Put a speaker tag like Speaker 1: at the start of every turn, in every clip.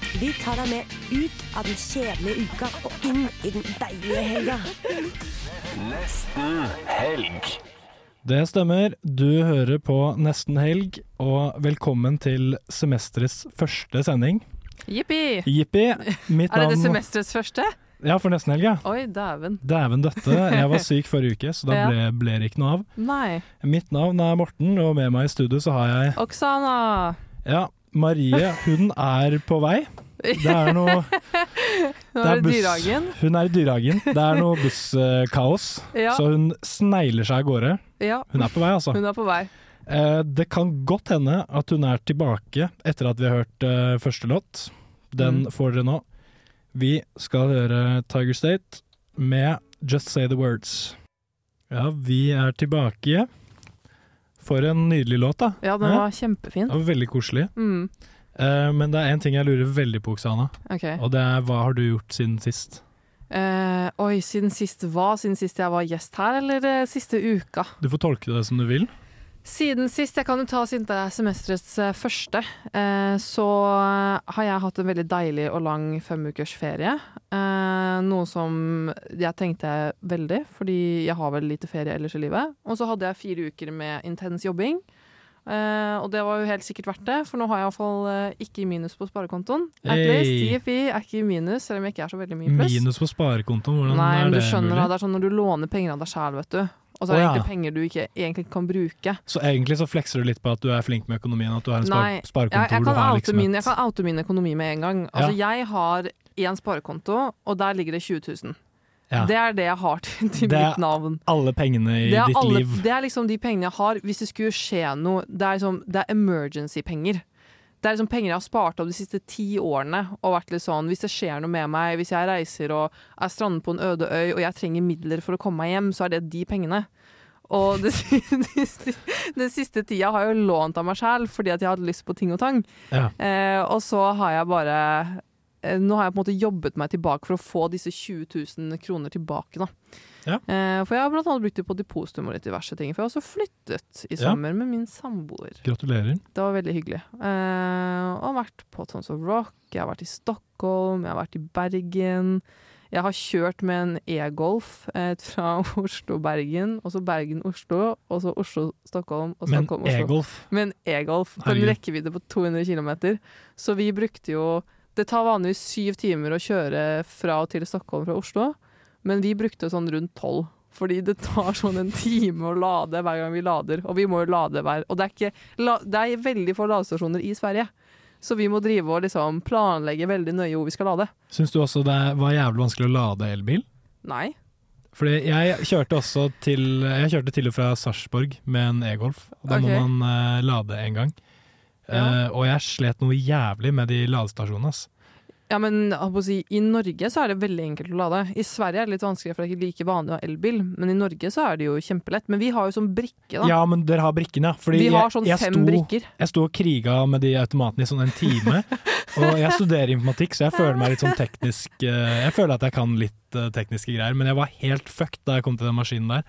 Speaker 1: Vi tar deg med ut av den kjedelige uka og inn i den deilige helga.
Speaker 2: Det stemmer. Du hører på Nesten helg, og velkommen til semesterets første sending.
Speaker 3: Jippi!
Speaker 2: Jippi. Mitt
Speaker 3: Er det det
Speaker 2: navn
Speaker 3: semesterets første?
Speaker 2: Ja, for nesten helg, ja.
Speaker 3: Oi, dæven.
Speaker 2: Dæven døtte. Jeg var syk forrige uke, så da
Speaker 3: Ja.
Speaker 2: ble, ble det ikke noe av.
Speaker 3: Nei.
Speaker 2: Mitt navn er Morten, og med meg i studio så har jeg
Speaker 3: Oksana!
Speaker 2: Ja, Marie, hun er på vei. Det er noe
Speaker 3: Nå
Speaker 2: det
Speaker 3: er
Speaker 2: er
Speaker 3: det
Speaker 2: buss-
Speaker 3: dyrehagen.
Speaker 2: Hun er i dyrehagen. Det er noe busskaos,
Speaker 3: Ja.
Speaker 2: så hun snegler seg av gårde.
Speaker 3: Ja,
Speaker 2: Hun er på vei, altså.
Speaker 3: hun er på vei.
Speaker 2: Eh, det kan godt hende at hun er tilbake etter at vi har hørt eh, første låt. Den
Speaker 3: Mm.
Speaker 2: får dere nå. Vi skal høre Tiger State med Just Say The Words. Ja, vi er tilbake. For en nydelig låt, da.
Speaker 3: Ja, den var kjempefin.
Speaker 2: Det var veldig koselig.
Speaker 3: Mm,
Speaker 2: Eh, men det er én ting jeg lurer veldig på, Oksana.
Speaker 3: ok.
Speaker 2: Og det er hva har du gjort siden sist?
Speaker 3: Eh, oi, siden sist hva? Siden sist jeg var gjest her, eller eh, siste uka?
Speaker 2: Du får tolke det som du vil.
Speaker 3: Siden sist, jeg kan jo ta siden det er semesterets eh, første, eh, så har jeg hatt en veldig deilig og lang femukers ferie. Eh, noe som jeg tenkte veldig, fordi jeg har vel lite ferie ellers i livet. Og så hadde jeg fire uker med intens jobbing, eh, og det var jo helt sikkert verdt det, for nå har jeg iallfall eh, ikke i minus på sparekontoen. At
Speaker 2: Hey.
Speaker 3: least IFI er ikke i minus, selv om jeg ikke er så veldig mye i pluss.
Speaker 2: Minus på sparekontoen, hvordan
Speaker 3: Nei,
Speaker 2: er
Speaker 3: men du
Speaker 2: det
Speaker 3: skjønner da,
Speaker 2: mulig?
Speaker 3: det er sånn når du låner penger av deg sjæl, vet du. Og så er
Speaker 2: Å,
Speaker 3: det
Speaker 2: ja.
Speaker 3: egentlig penger du ikke egentlig ikke kan bruke.
Speaker 2: Så egentlig så flekser du litt på at du er flink med økonomien, at du har en spar
Speaker 3: Nei,
Speaker 2: sparekonto
Speaker 3: Jeg, jeg,
Speaker 2: hvor du
Speaker 3: kan
Speaker 2: har
Speaker 3: oute
Speaker 2: liksom
Speaker 3: min, jeg
Speaker 2: et-
Speaker 3: kan oute min økonomi med en gang. Altså, Jeg har én sparekonto, og der ligger det 20 000.
Speaker 2: Ja.
Speaker 3: Det er det jeg har til, til
Speaker 2: Det er
Speaker 3: mitt navn.
Speaker 2: alle pengene i
Speaker 3: Det er,
Speaker 2: ditt
Speaker 3: alle,
Speaker 2: liv.
Speaker 3: det er liksom de pengene jeg har hvis det skulle skje noe. Det er, liksom, det er emergency-penger. Det er liksom penger jeg har spart opp de siste ti årene. Og vært litt sånn, Hvis det skjer noe med meg, hvis jeg reiser og er strandet på en øde øy og jeg trenger midler for å komme meg hjem, så er det de pengene. Og det, si- de si- den siste tida har jeg jo lånt av meg sjæl fordi at jeg hadde lyst på ting og tang.
Speaker 2: Ja.
Speaker 3: Eh, og så har jeg bare eh, Nå har jeg på en måte jobbet meg tilbake for å få disse 20 000 kroner tilbake. Da.
Speaker 2: Ja.
Speaker 3: Eh, for jeg har blant annet brukt det på depositum og litt diverse ting. For jeg har også flyttet i
Speaker 2: Ja.
Speaker 3: sommer med min samboer.
Speaker 2: Gratulerer.
Speaker 3: Det var veldig hyggelig. Eh, og vært på Tons of Rock, jeg har vært i Stockholm, jeg har vært i Bergen. Jeg har kjørt med en e-golf eh, fra Oslo-Bergen, og så Bergen-Oslo, og så Oslo-Stockholm, og
Speaker 2: Men
Speaker 3: Stockholm-Oslo
Speaker 2: e-golf
Speaker 3: med en e-golf på en
Speaker 2: Herregud.
Speaker 3: rekkevidde på 200 km. Så vi brukte jo Det tar vanligvis syv timer å kjøre fra og til Stockholm fra Oslo, men vi brukte sånn rundt tolv. Fordi det tar sånn en time å lade hver gang vi lader, og vi må jo lade hver Og det er, ikke, la, det er veldig få ladestasjoner i Sverige, så vi må drive og liksom planlegge veldig nøye hvor vi skal lade.
Speaker 2: Syns du også det var jævlig vanskelig å lade elbil?
Speaker 3: Nei.
Speaker 2: Fordi jeg kjørte også til Jeg kjørte til og fra Sarpsborg med en e-golf. og Da
Speaker 3: Ok.
Speaker 2: må man eh, lade en gang.
Speaker 3: Ja.
Speaker 2: Eh, og jeg slet noe jævlig med de ladestasjonene. ass.
Speaker 3: Ja, men jeg holdt på å si, I Norge så er det veldig enkelt å lade. I Sverige er det litt vanskeligere, for det er ikke like vanlig å ha elbil. Men i Norge så er det jo kjempelett. Men vi har jo sånn brikke, da.
Speaker 2: Ja, men dere har brikkene, ja. Fordi
Speaker 3: vi har sånn
Speaker 2: jeg, jeg
Speaker 3: fem
Speaker 2: sto,
Speaker 3: brikker.
Speaker 2: Jeg sto og kriga med de automatene i sånn en time. Og jeg studerer informatikk, så jeg føler meg litt sånn teknisk eh, Jeg føler at jeg kan litt eh, tekniske greier, men jeg var helt fucked da jeg kom til den maskinen der.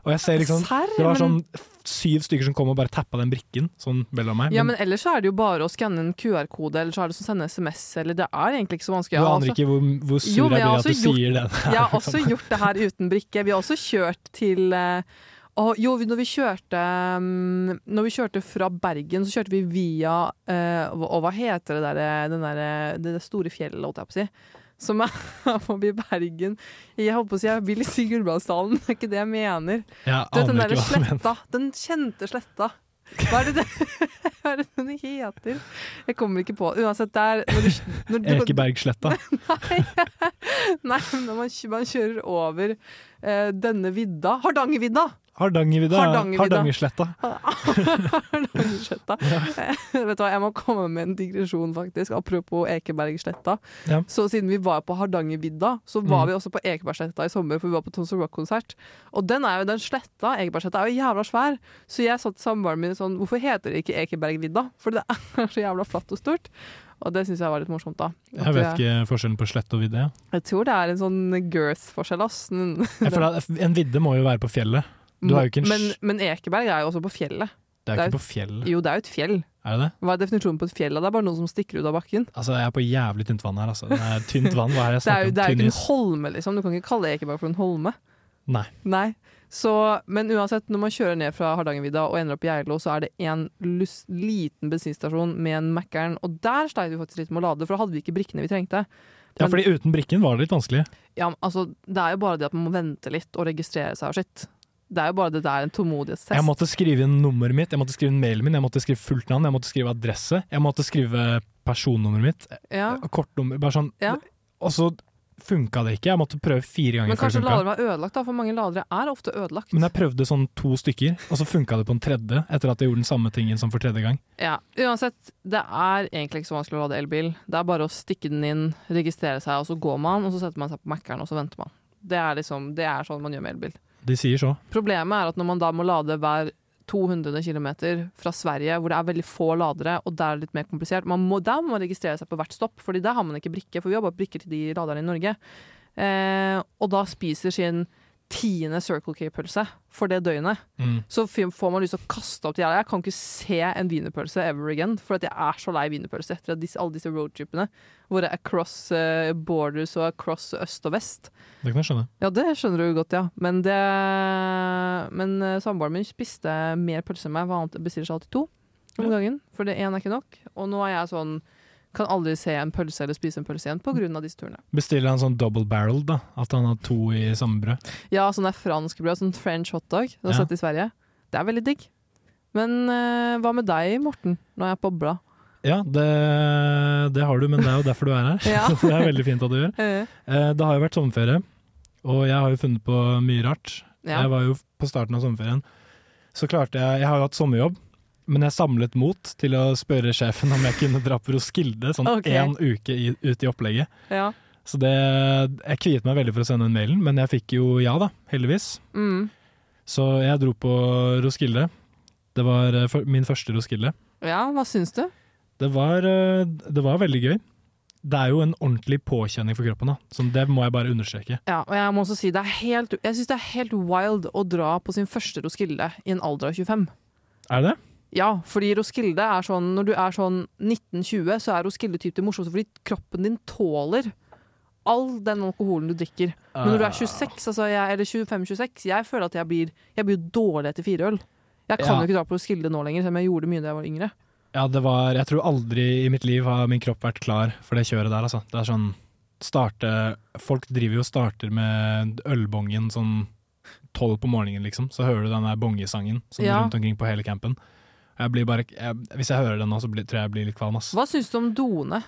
Speaker 2: Og jeg ser liksom
Speaker 3: Serr?
Speaker 2: Det var
Speaker 3: Men-
Speaker 2: sånn syv stykker som kom og bare tappa den brikken sånn mellom meg.
Speaker 3: Ja,
Speaker 2: Men
Speaker 3: men ellers så er det jo bare å skanne en QR-kode, eller så er det å sende SMS, eller det er egentlig ikke så
Speaker 2: du
Speaker 3: vanskelig.
Speaker 2: aner
Speaker 3: Jeg har
Speaker 2: ikke hvor, hvor sur
Speaker 3: altså- Jo, men
Speaker 2: jeg
Speaker 3: jeg
Speaker 2: blir
Speaker 3: har
Speaker 2: at du
Speaker 3: også gjort-
Speaker 2: sier det.
Speaker 3: også- Jeg har også gjort det her uten brikke. Vi har også kjørt til eh, å, jo, vi- når vi kjørte mm, Når vi kjørte fra Bergen, så kjørte vi via eh, hva- Og hva heter det der, eh, den der, det der store fjellet, holdt jeg på å si? Som er forbi Bergen. Jeg holdt på å si jeg vil si Gudbrandsdalen, det er ikke det jeg mener.
Speaker 2: Jeg
Speaker 3: Du vet den
Speaker 2: aner
Speaker 3: derre
Speaker 2: ikke hva du mener.
Speaker 3: sletta. Den kjente sletta. Hva er det, det, hva er det den heter? Jeg kommer ikke på Uansett, det er når du, når du,
Speaker 2: Ekebergsletta.
Speaker 3: Nei, men når man, kjø- man kjører over eh, denne vidda Hardangervidda!
Speaker 2: Hardangervidda.
Speaker 3: Hardangervidda.
Speaker 2: Hardangersletta.
Speaker 3: Hardangersletta. Eh, Vet du hva, jeg må komme med en digresjon, faktisk. Apropos Ekebergsletta.
Speaker 2: Ja.
Speaker 3: Så siden vi var på Hardangervidda, så var
Speaker 2: Mm.
Speaker 3: vi også på Ekebergsletta i sommer, for vi var på Tons Rock-konsert. Og den er jo den sletta, Ekebergsletta, er jo jævla svær. Så jeg sa til samboeren min sånn, hvorfor heter det ikke Ekebergvidda? For det er så jævla flatt og stort. Og det syns jeg var litt morsomt, da. At
Speaker 2: Jeg vet
Speaker 3: vi-
Speaker 2: ikke forskjellen på slett og vidde. Ja.
Speaker 3: jeg tror det er en sånn girth-forskjell, ass. Den-
Speaker 2: Jeg føler at En vidde må jo være på fjellet. Du har jo ikke en
Speaker 3: men,
Speaker 2: sj-
Speaker 3: men Ekeberg er jo også på fjellet.
Speaker 2: Det er jo
Speaker 3: det er-
Speaker 2: ikke på fjellet,
Speaker 3: Jo, det er jo et fjell.
Speaker 2: er det det?
Speaker 3: Hva er definisjonen på et fjell? da? Det er bare noen som stikker ut av bakken.
Speaker 2: Altså, jeg er på jævlig tynt vann her, altså. Det er tynt vann, hva er
Speaker 3: Det er
Speaker 2: det jeg snakker
Speaker 3: jo,
Speaker 2: om?
Speaker 3: det er jo
Speaker 2: Tynn
Speaker 3: ikke en
Speaker 2: is?
Speaker 3: holme, liksom. Du kan ikke kalle Ekeberg for en holme.
Speaker 2: Nei.
Speaker 3: Nei. Så, men uansett, når man kjører ned fra Hardangervidda og ender opp i Geilo, så er det en lus- liten bensinstasjon med en Mækkern, og der sleit vi faktisk litt med å lade, for da hadde vi ikke brikkene vi trengte.
Speaker 2: Ja,
Speaker 3: Men-
Speaker 2: fordi uten brikken var det litt vanskelig.
Speaker 3: Ja, men altså, Det er jo bare det at man må vente litt og registrere seg og sitt. Det er jo bare det der en tålmodighetstest.
Speaker 2: Jeg måtte skrive inn nummeret mitt, jeg måtte skrive inn mailen min, jeg måtte skrive fullt navn, jeg måtte skrive adresse, jeg måtte skrive personnummeret mitt, eh,
Speaker 3: ja.
Speaker 2: kortnummer, bare sånn.
Speaker 3: Ah. Ja.
Speaker 2: Og så funka det ikke, jeg måtte prøve fire ganger
Speaker 3: Men
Speaker 2: før det
Speaker 3: kanskje
Speaker 2: funka.
Speaker 3: laderen var ødelagt, da, for mange ladere er ofte ødelagt.
Speaker 2: Men jeg prøvde sånn to stykker, og så funka det på en tredje, etter at jeg gjorde den samme tingen som for tredje gang.
Speaker 3: Ja, Uansett, det er egentlig ikke så vanskelig å lade elbil. Det er bare å stikke den inn, registrere seg, og så går man, og så setter man seg på Mækkern, og så venter man. Det er, liksom, det er sånn man gjør med elbil.
Speaker 2: De sier så.
Speaker 3: Problemet er at når man da må lade hver 200 km fra Sverige, hvor det er veldig få ladere, og der er det litt mer komplisert, man må, der må man registrere seg på hvert stopp, fordi der har man ikke brikke, for vi har bare brikker til de laderne i Norge. Eh, og da spiser sin tiende Circle K-pølse for det døgnet
Speaker 2: Mm.
Speaker 3: så f- får man lyst til å kaste opp de her. Jeg kan ikke se en wienerpølse ever again, for at jeg er så lei wienerpølse etter at disse, alle disse roadtripene hvor det er across eh, borders og across øst og vest.
Speaker 2: Det kan jeg skjønne.
Speaker 3: Ja, det skjønner du godt, ja. Men, det, men eh, samboeren min spiste mer pølse enn meg. Han bestiller seg alltid to om gangen, for det én er ikke nok. Og nå er jeg sånn kan aldri se en pølse eller spise en pølse igjen pga. disse turene.
Speaker 2: Bestiller han sånn double barrel, da? At han har to i samme brød?
Speaker 3: Ja, sånn der fransk brød, sånn french hotdog. Det har
Speaker 2: Ja.
Speaker 3: sett i Sverige. Det er veldig digg. Men eh, hva med deg, Morten? Nå er jeg bobla.
Speaker 2: Ja, det, det har du, men det er jo derfor du er her.
Speaker 3: Ja.
Speaker 2: Så det er veldig fint at du gjør.
Speaker 3: Eh,
Speaker 2: Eh, Det har jo vært sommerferie, og jeg har jo funnet på mye rart.
Speaker 3: ja.
Speaker 2: Jeg var jo på starten av sommerferien. Så klarte jeg Jeg har jo hatt sommerjobb, men jeg samlet mot til å spørre sjefen om jeg kunne dra på Roskilde sånn
Speaker 3: Ok.
Speaker 2: én uke i, ut i opplegget.
Speaker 3: ja.
Speaker 2: Så det Jeg kviet meg veldig for å sende den mailen, men jeg fikk jo ja, da. Heldigvis.
Speaker 3: Mm.
Speaker 2: Så jeg dro på Roskilde. Det var eh, for- min første Roskilde.
Speaker 3: ja, hva syns du?
Speaker 2: Det var, eh, det var veldig gøy. Det er jo en ordentlig påkjenning for kroppen, da. Så det må jeg bare understreke.
Speaker 3: Ja, og jeg må også si det er helt, Jeg syns det er helt wild å dra på sin første Roskilde i en alder av 25.
Speaker 2: Er det det?
Speaker 3: Ja, fordi Roskilde er sånn Når du er sånn 19-20, så er Roskilde typ det morsomste fordi kroppen din tåler all den alkoholen du drikker. Men
Speaker 2: Ah.
Speaker 3: når du er
Speaker 2: Eh,
Speaker 3: 26, altså jeg, eller 25-26, jeg føler at jeg blir, jeg blir dårlig etter fire øl. Jeg kan
Speaker 2: Ja.
Speaker 3: jo ikke dra på Roskilde nå lenger, selv om jeg gjorde det mye da jeg var yngre.
Speaker 2: Ja, det var Jeg tror aldri i mitt liv har min kropp vært klar for det kjøret der, altså. Det er sånn starte, Folk driver jo og starter med ølbongen sånn tolv på morgenen, liksom. Så hører du den der bongesangen sånn
Speaker 3: Ja.
Speaker 2: rundt omkring på hele campen. Jeg blir bare, jeg, hvis jeg hører den nå, så blir, tror jeg jeg blir litt kvalm, ass.
Speaker 3: Hva syns du om doene?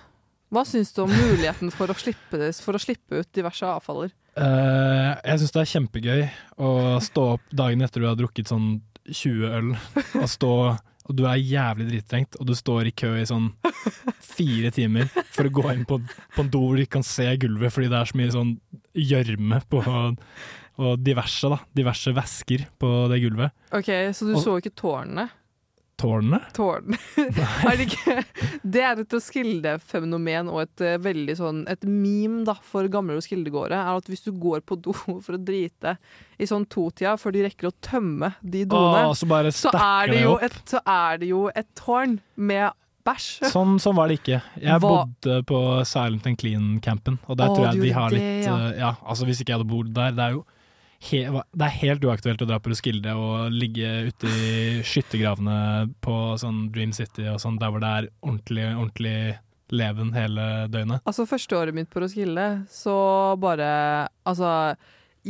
Speaker 3: Hva syns du om muligheten for å slippe, det- for å slippe ut diverse avfaller?
Speaker 2: Eh, jeg syns det er kjempegøy å stå opp dagen etter du har drukket sånn 20 øl, og stå og du er jævlig drittrengt, og du står i kø i sånn fire timer for å gå inn på, på en do hvor du ikke kan se gulvet fordi det er så mye sånn gjørme på og diverse, da. Diverse væsker på det gulvet.
Speaker 3: Ok, Så du
Speaker 2: Og-
Speaker 3: så ikke tårnene?
Speaker 2: Tårnene?
Speaker 3: Tårn. er det, ikke? det er et Roskilde-fenomen og et eh, veldig sånn Et meme da for gamle Roskildegårdere er at hvis du går på do for å drite i sånn totida før de rekker å tømme de doene,
Speaker 2: Å, så bare
Speaker 3: så er,
Speaker 2: stakker
Speaker 3: det
Speaker 2: det
Speaker 3: jo
Speaker 2: opp.
Speaker 3: et, så er det jo et tårn med bæsj.
Speaker 2: Sånn, sånn var det ikke. Jeg
Speaker 3: Hva-
Speaker 2: bodde på Silent and Clean-campen, og der
Speaker 3: Å, du
Speaker 2: tror jeg de
Speaker 3: gjorde
Speaker 2: har
Speaker 3: det,
Speaker 2: litt
Speaker 3: ja.
Speaker 2: eh, ja, altså Hvis ikke jeg hadde bodd der Det er jo he, hva- det er helt uaktuelt å dra på Roskilde og ligge ute i skyttergravene på sånn Dream City og sånn, der hvor det er ordentlig, ordentlig leven hele døgnet.
Speaker 3: Altså første året mitt på Roskilde, så bare Altså,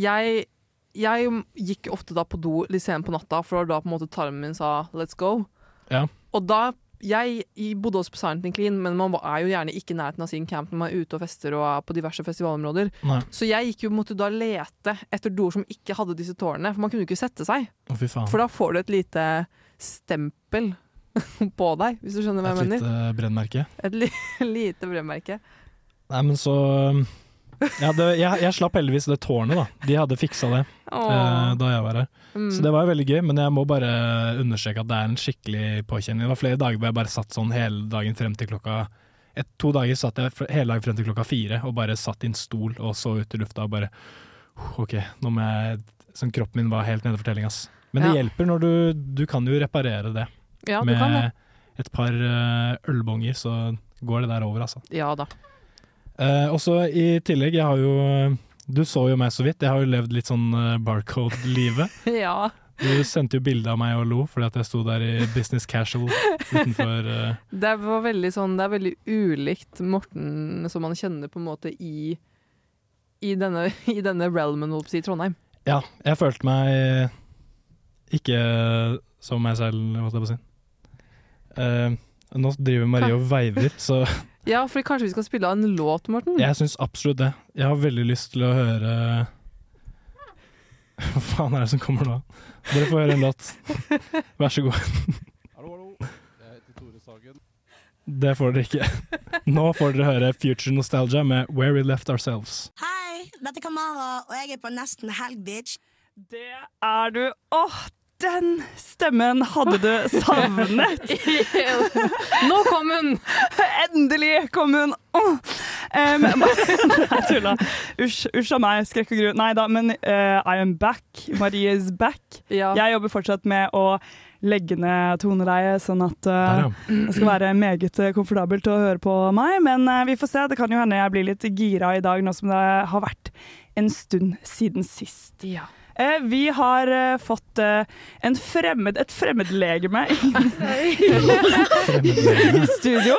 Speaker 3: jeg jeg gikk ofte da på do litt sent på natta, for det var da på en måte tarmen min sa 'let's go'.
Speaker 2: Ja.
Speaker 3: Og da jeg i- bodde også på Silent Clean, men man er jo gjerne ikke i nærheten av sin camp når man er ute og fester og er på diverse festivalområder.
Speaker 2: Nei.
Speaker 3: Så jeg gikk jo, måtte da lete etter doer som ikke hadde disse tårnene, for man kunne jo ikke sette seg.
Speaker 2: Å, fy faen.
Speaker 3: For da får du et lite stempel på deg, hvis du skjønner hva jeg
Speaker 2: Et
Speaker 3: mener.
Speaker 2: lite eh, brennmerke.
Speaker 3: Et li lite brødmerke.
Speaker 2: Nei, men så um, ja, det, jeg, jeg slapp heldigvis det tårnet, da. De hadde fiksa det eh, da jeg var her.
Speaker 3: Mm.
Speaker 2: Så det var jo veldig gøy, men jeg må bare understreke at det er en skikkelig påkjenning. Det var flere dager hvor jeg bare satt sånn hele dagen frem til klokka et, To dager satt jeg fr- hele dagen frem til klokka fire og bare satt i en stol og så ut i lufta og bare OK, nå må jeg Sånn kroppen min var helt nede for telling, ass. Men det
Speaker 3: Ja.
Speaker 2: hjelper når du Du kan jo reparere det
Speaker 3: Ja, du kan det.
Speaker 2: med et par eh, ølbonger, så går det der over, altså.
Speaker 3: Ja da.
Speaker 2: Eh, også i tillegg, jeg har jo Du så jo meg så vidt, jeg har jo levd litt sånn eh, barcode-livet.
Speaker 3: Ja.
Speaker 2: Du sendte jo bilde av meg og lo fordi at jeg sto der i business casual utenfor eh,
Speaker 3: Det var veldig sånn Det er veldig ulikt Morten som man kjenner på en måte i i denne, i denne realmen, holdt jeg på å si, i Trondheim.
Speaker 2: Ja, jeg følte meg eh, ikke som meg selv, holdt jeg på å si. Eh, nå driver Marie og veiver, så
Speaker 3: Ja, for kanskje vi skal spille av en låt, Morten?
Speaker 2: jeg syns absolutt det. Jeg har veldig lyst til å høre Hva faen er det som kommer nå? Dere får høre en låt. Vær så god.
Speaker 4: Hallo, hallo. Jeg heter Tore Sagen.
Speaker 2: Det får dere ikke. Nå får dere høre Future Nostalgia med Where We Left Ourselves.
Speaker 5: Hei, dette er Kamara, og jeg er på Nesten Helg, bitch.
Speaker 6: Det er du. Åh, den stemmen hadde du savnet!
Speaker 3: Nå kom hun!
Speaker 6: Endelig kom hun! Åh. Em, Nei, tulla. Usj usj av meg, skrekk og gru. Nei da, men eh, I am back. Marie is back.
Speaker 3: Ja.
Speaker 6: Jeg jobber fortsatt med å legge ned toneleiet, sånn at eh,
Speaker 2: Der,
Speaker 6: det skal være meget eh, komfortabelt å høre på meg. Men eh, vi får se. Det kan jo hende jeg blir litt gira i dag, nå som det har vært en stund siden sist.
Speaker 3: Ja.
Speaker 6: Eh, vi har eh, fått eh, en fremmed, et fremmedlegeme inn i studio.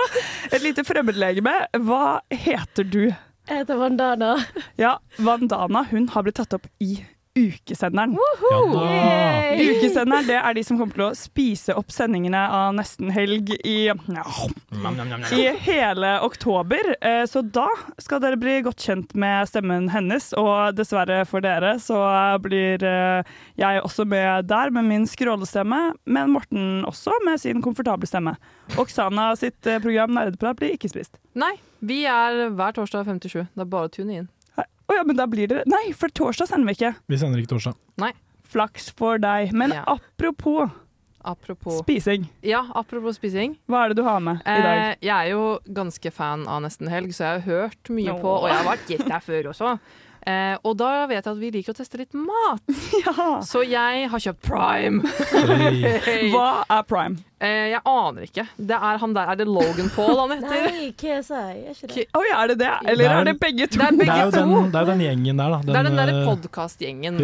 Speaker 6: Et lite fremmedlegeme. Hva heter du?
Speaker 7: Jeg heter Vandana.
Speaker 6: Ja, Vandana hun har blitt tatt opp i Ukesenderen.
Speaker 2: Ja da.
Speaker 6: Ukesenderen det er de som kommer til å spise opp sendingene av Nesten helg i, ja, i hele oktober. Eh, Så da skal dere bli godt kjent med stemmen hennes, og dessverre for dere så blir eh, jeg også med der med min skrålestemme, men Morten også med sin komfortable stemme. Oksana sitt eh, program Nerdeprat blir ikke spist.
Speaker 3: Nei, vi er hver torsdag 57. Det er bare å tune inn.
Speaker 6: Å ja, men da blir det Nei, for torsdag sender vi ikke.
Speaker 2: Vi sender ikke torsdag.
Speaker 6: Flaks for deg. Men
Speaker 3: Ja.
Speaker 6: apropos
Speaker 3: Apropos
Speaker 6: spising,
Speaker 3: Ja, apropos spising.
Speaker 6: hva er det du har med i dag?
Speaker 3: Eh, jeg er jo ganske fan av Nesten Helg, så jeg har hørt mye
Speaker 6: Åh.
Speaker 3: på, og jeg har vært gjest her før også. Eh, og da vet jeg at vi liker å teste litt mat,
Speaker 6: Ja.
Speaker 3: så jeg har kjøpt Prime.
Speaker 2: Hey.
Speaker 3: Hey.
Speaker 6: Hva er prime?
Speaker 3: Eh, jeg aner ikke. Det er han der. Er det Logan Paul han heter?
Speaker 7: Nei, KSI, er ikke det?
Speaker 6: Å ja, er det det? Eller
Speaker 2: Det er-
Speaker 6: er det begge to?
Speaker 3: Det er
Speaker 2: Det er jo
Speaker 3: begge to.
Speaker 2: den, det er jo den gjengen der, da.
Speaker 3: det er den derre
Speaker 2: eh,
Speaker 3: podkastgjengen.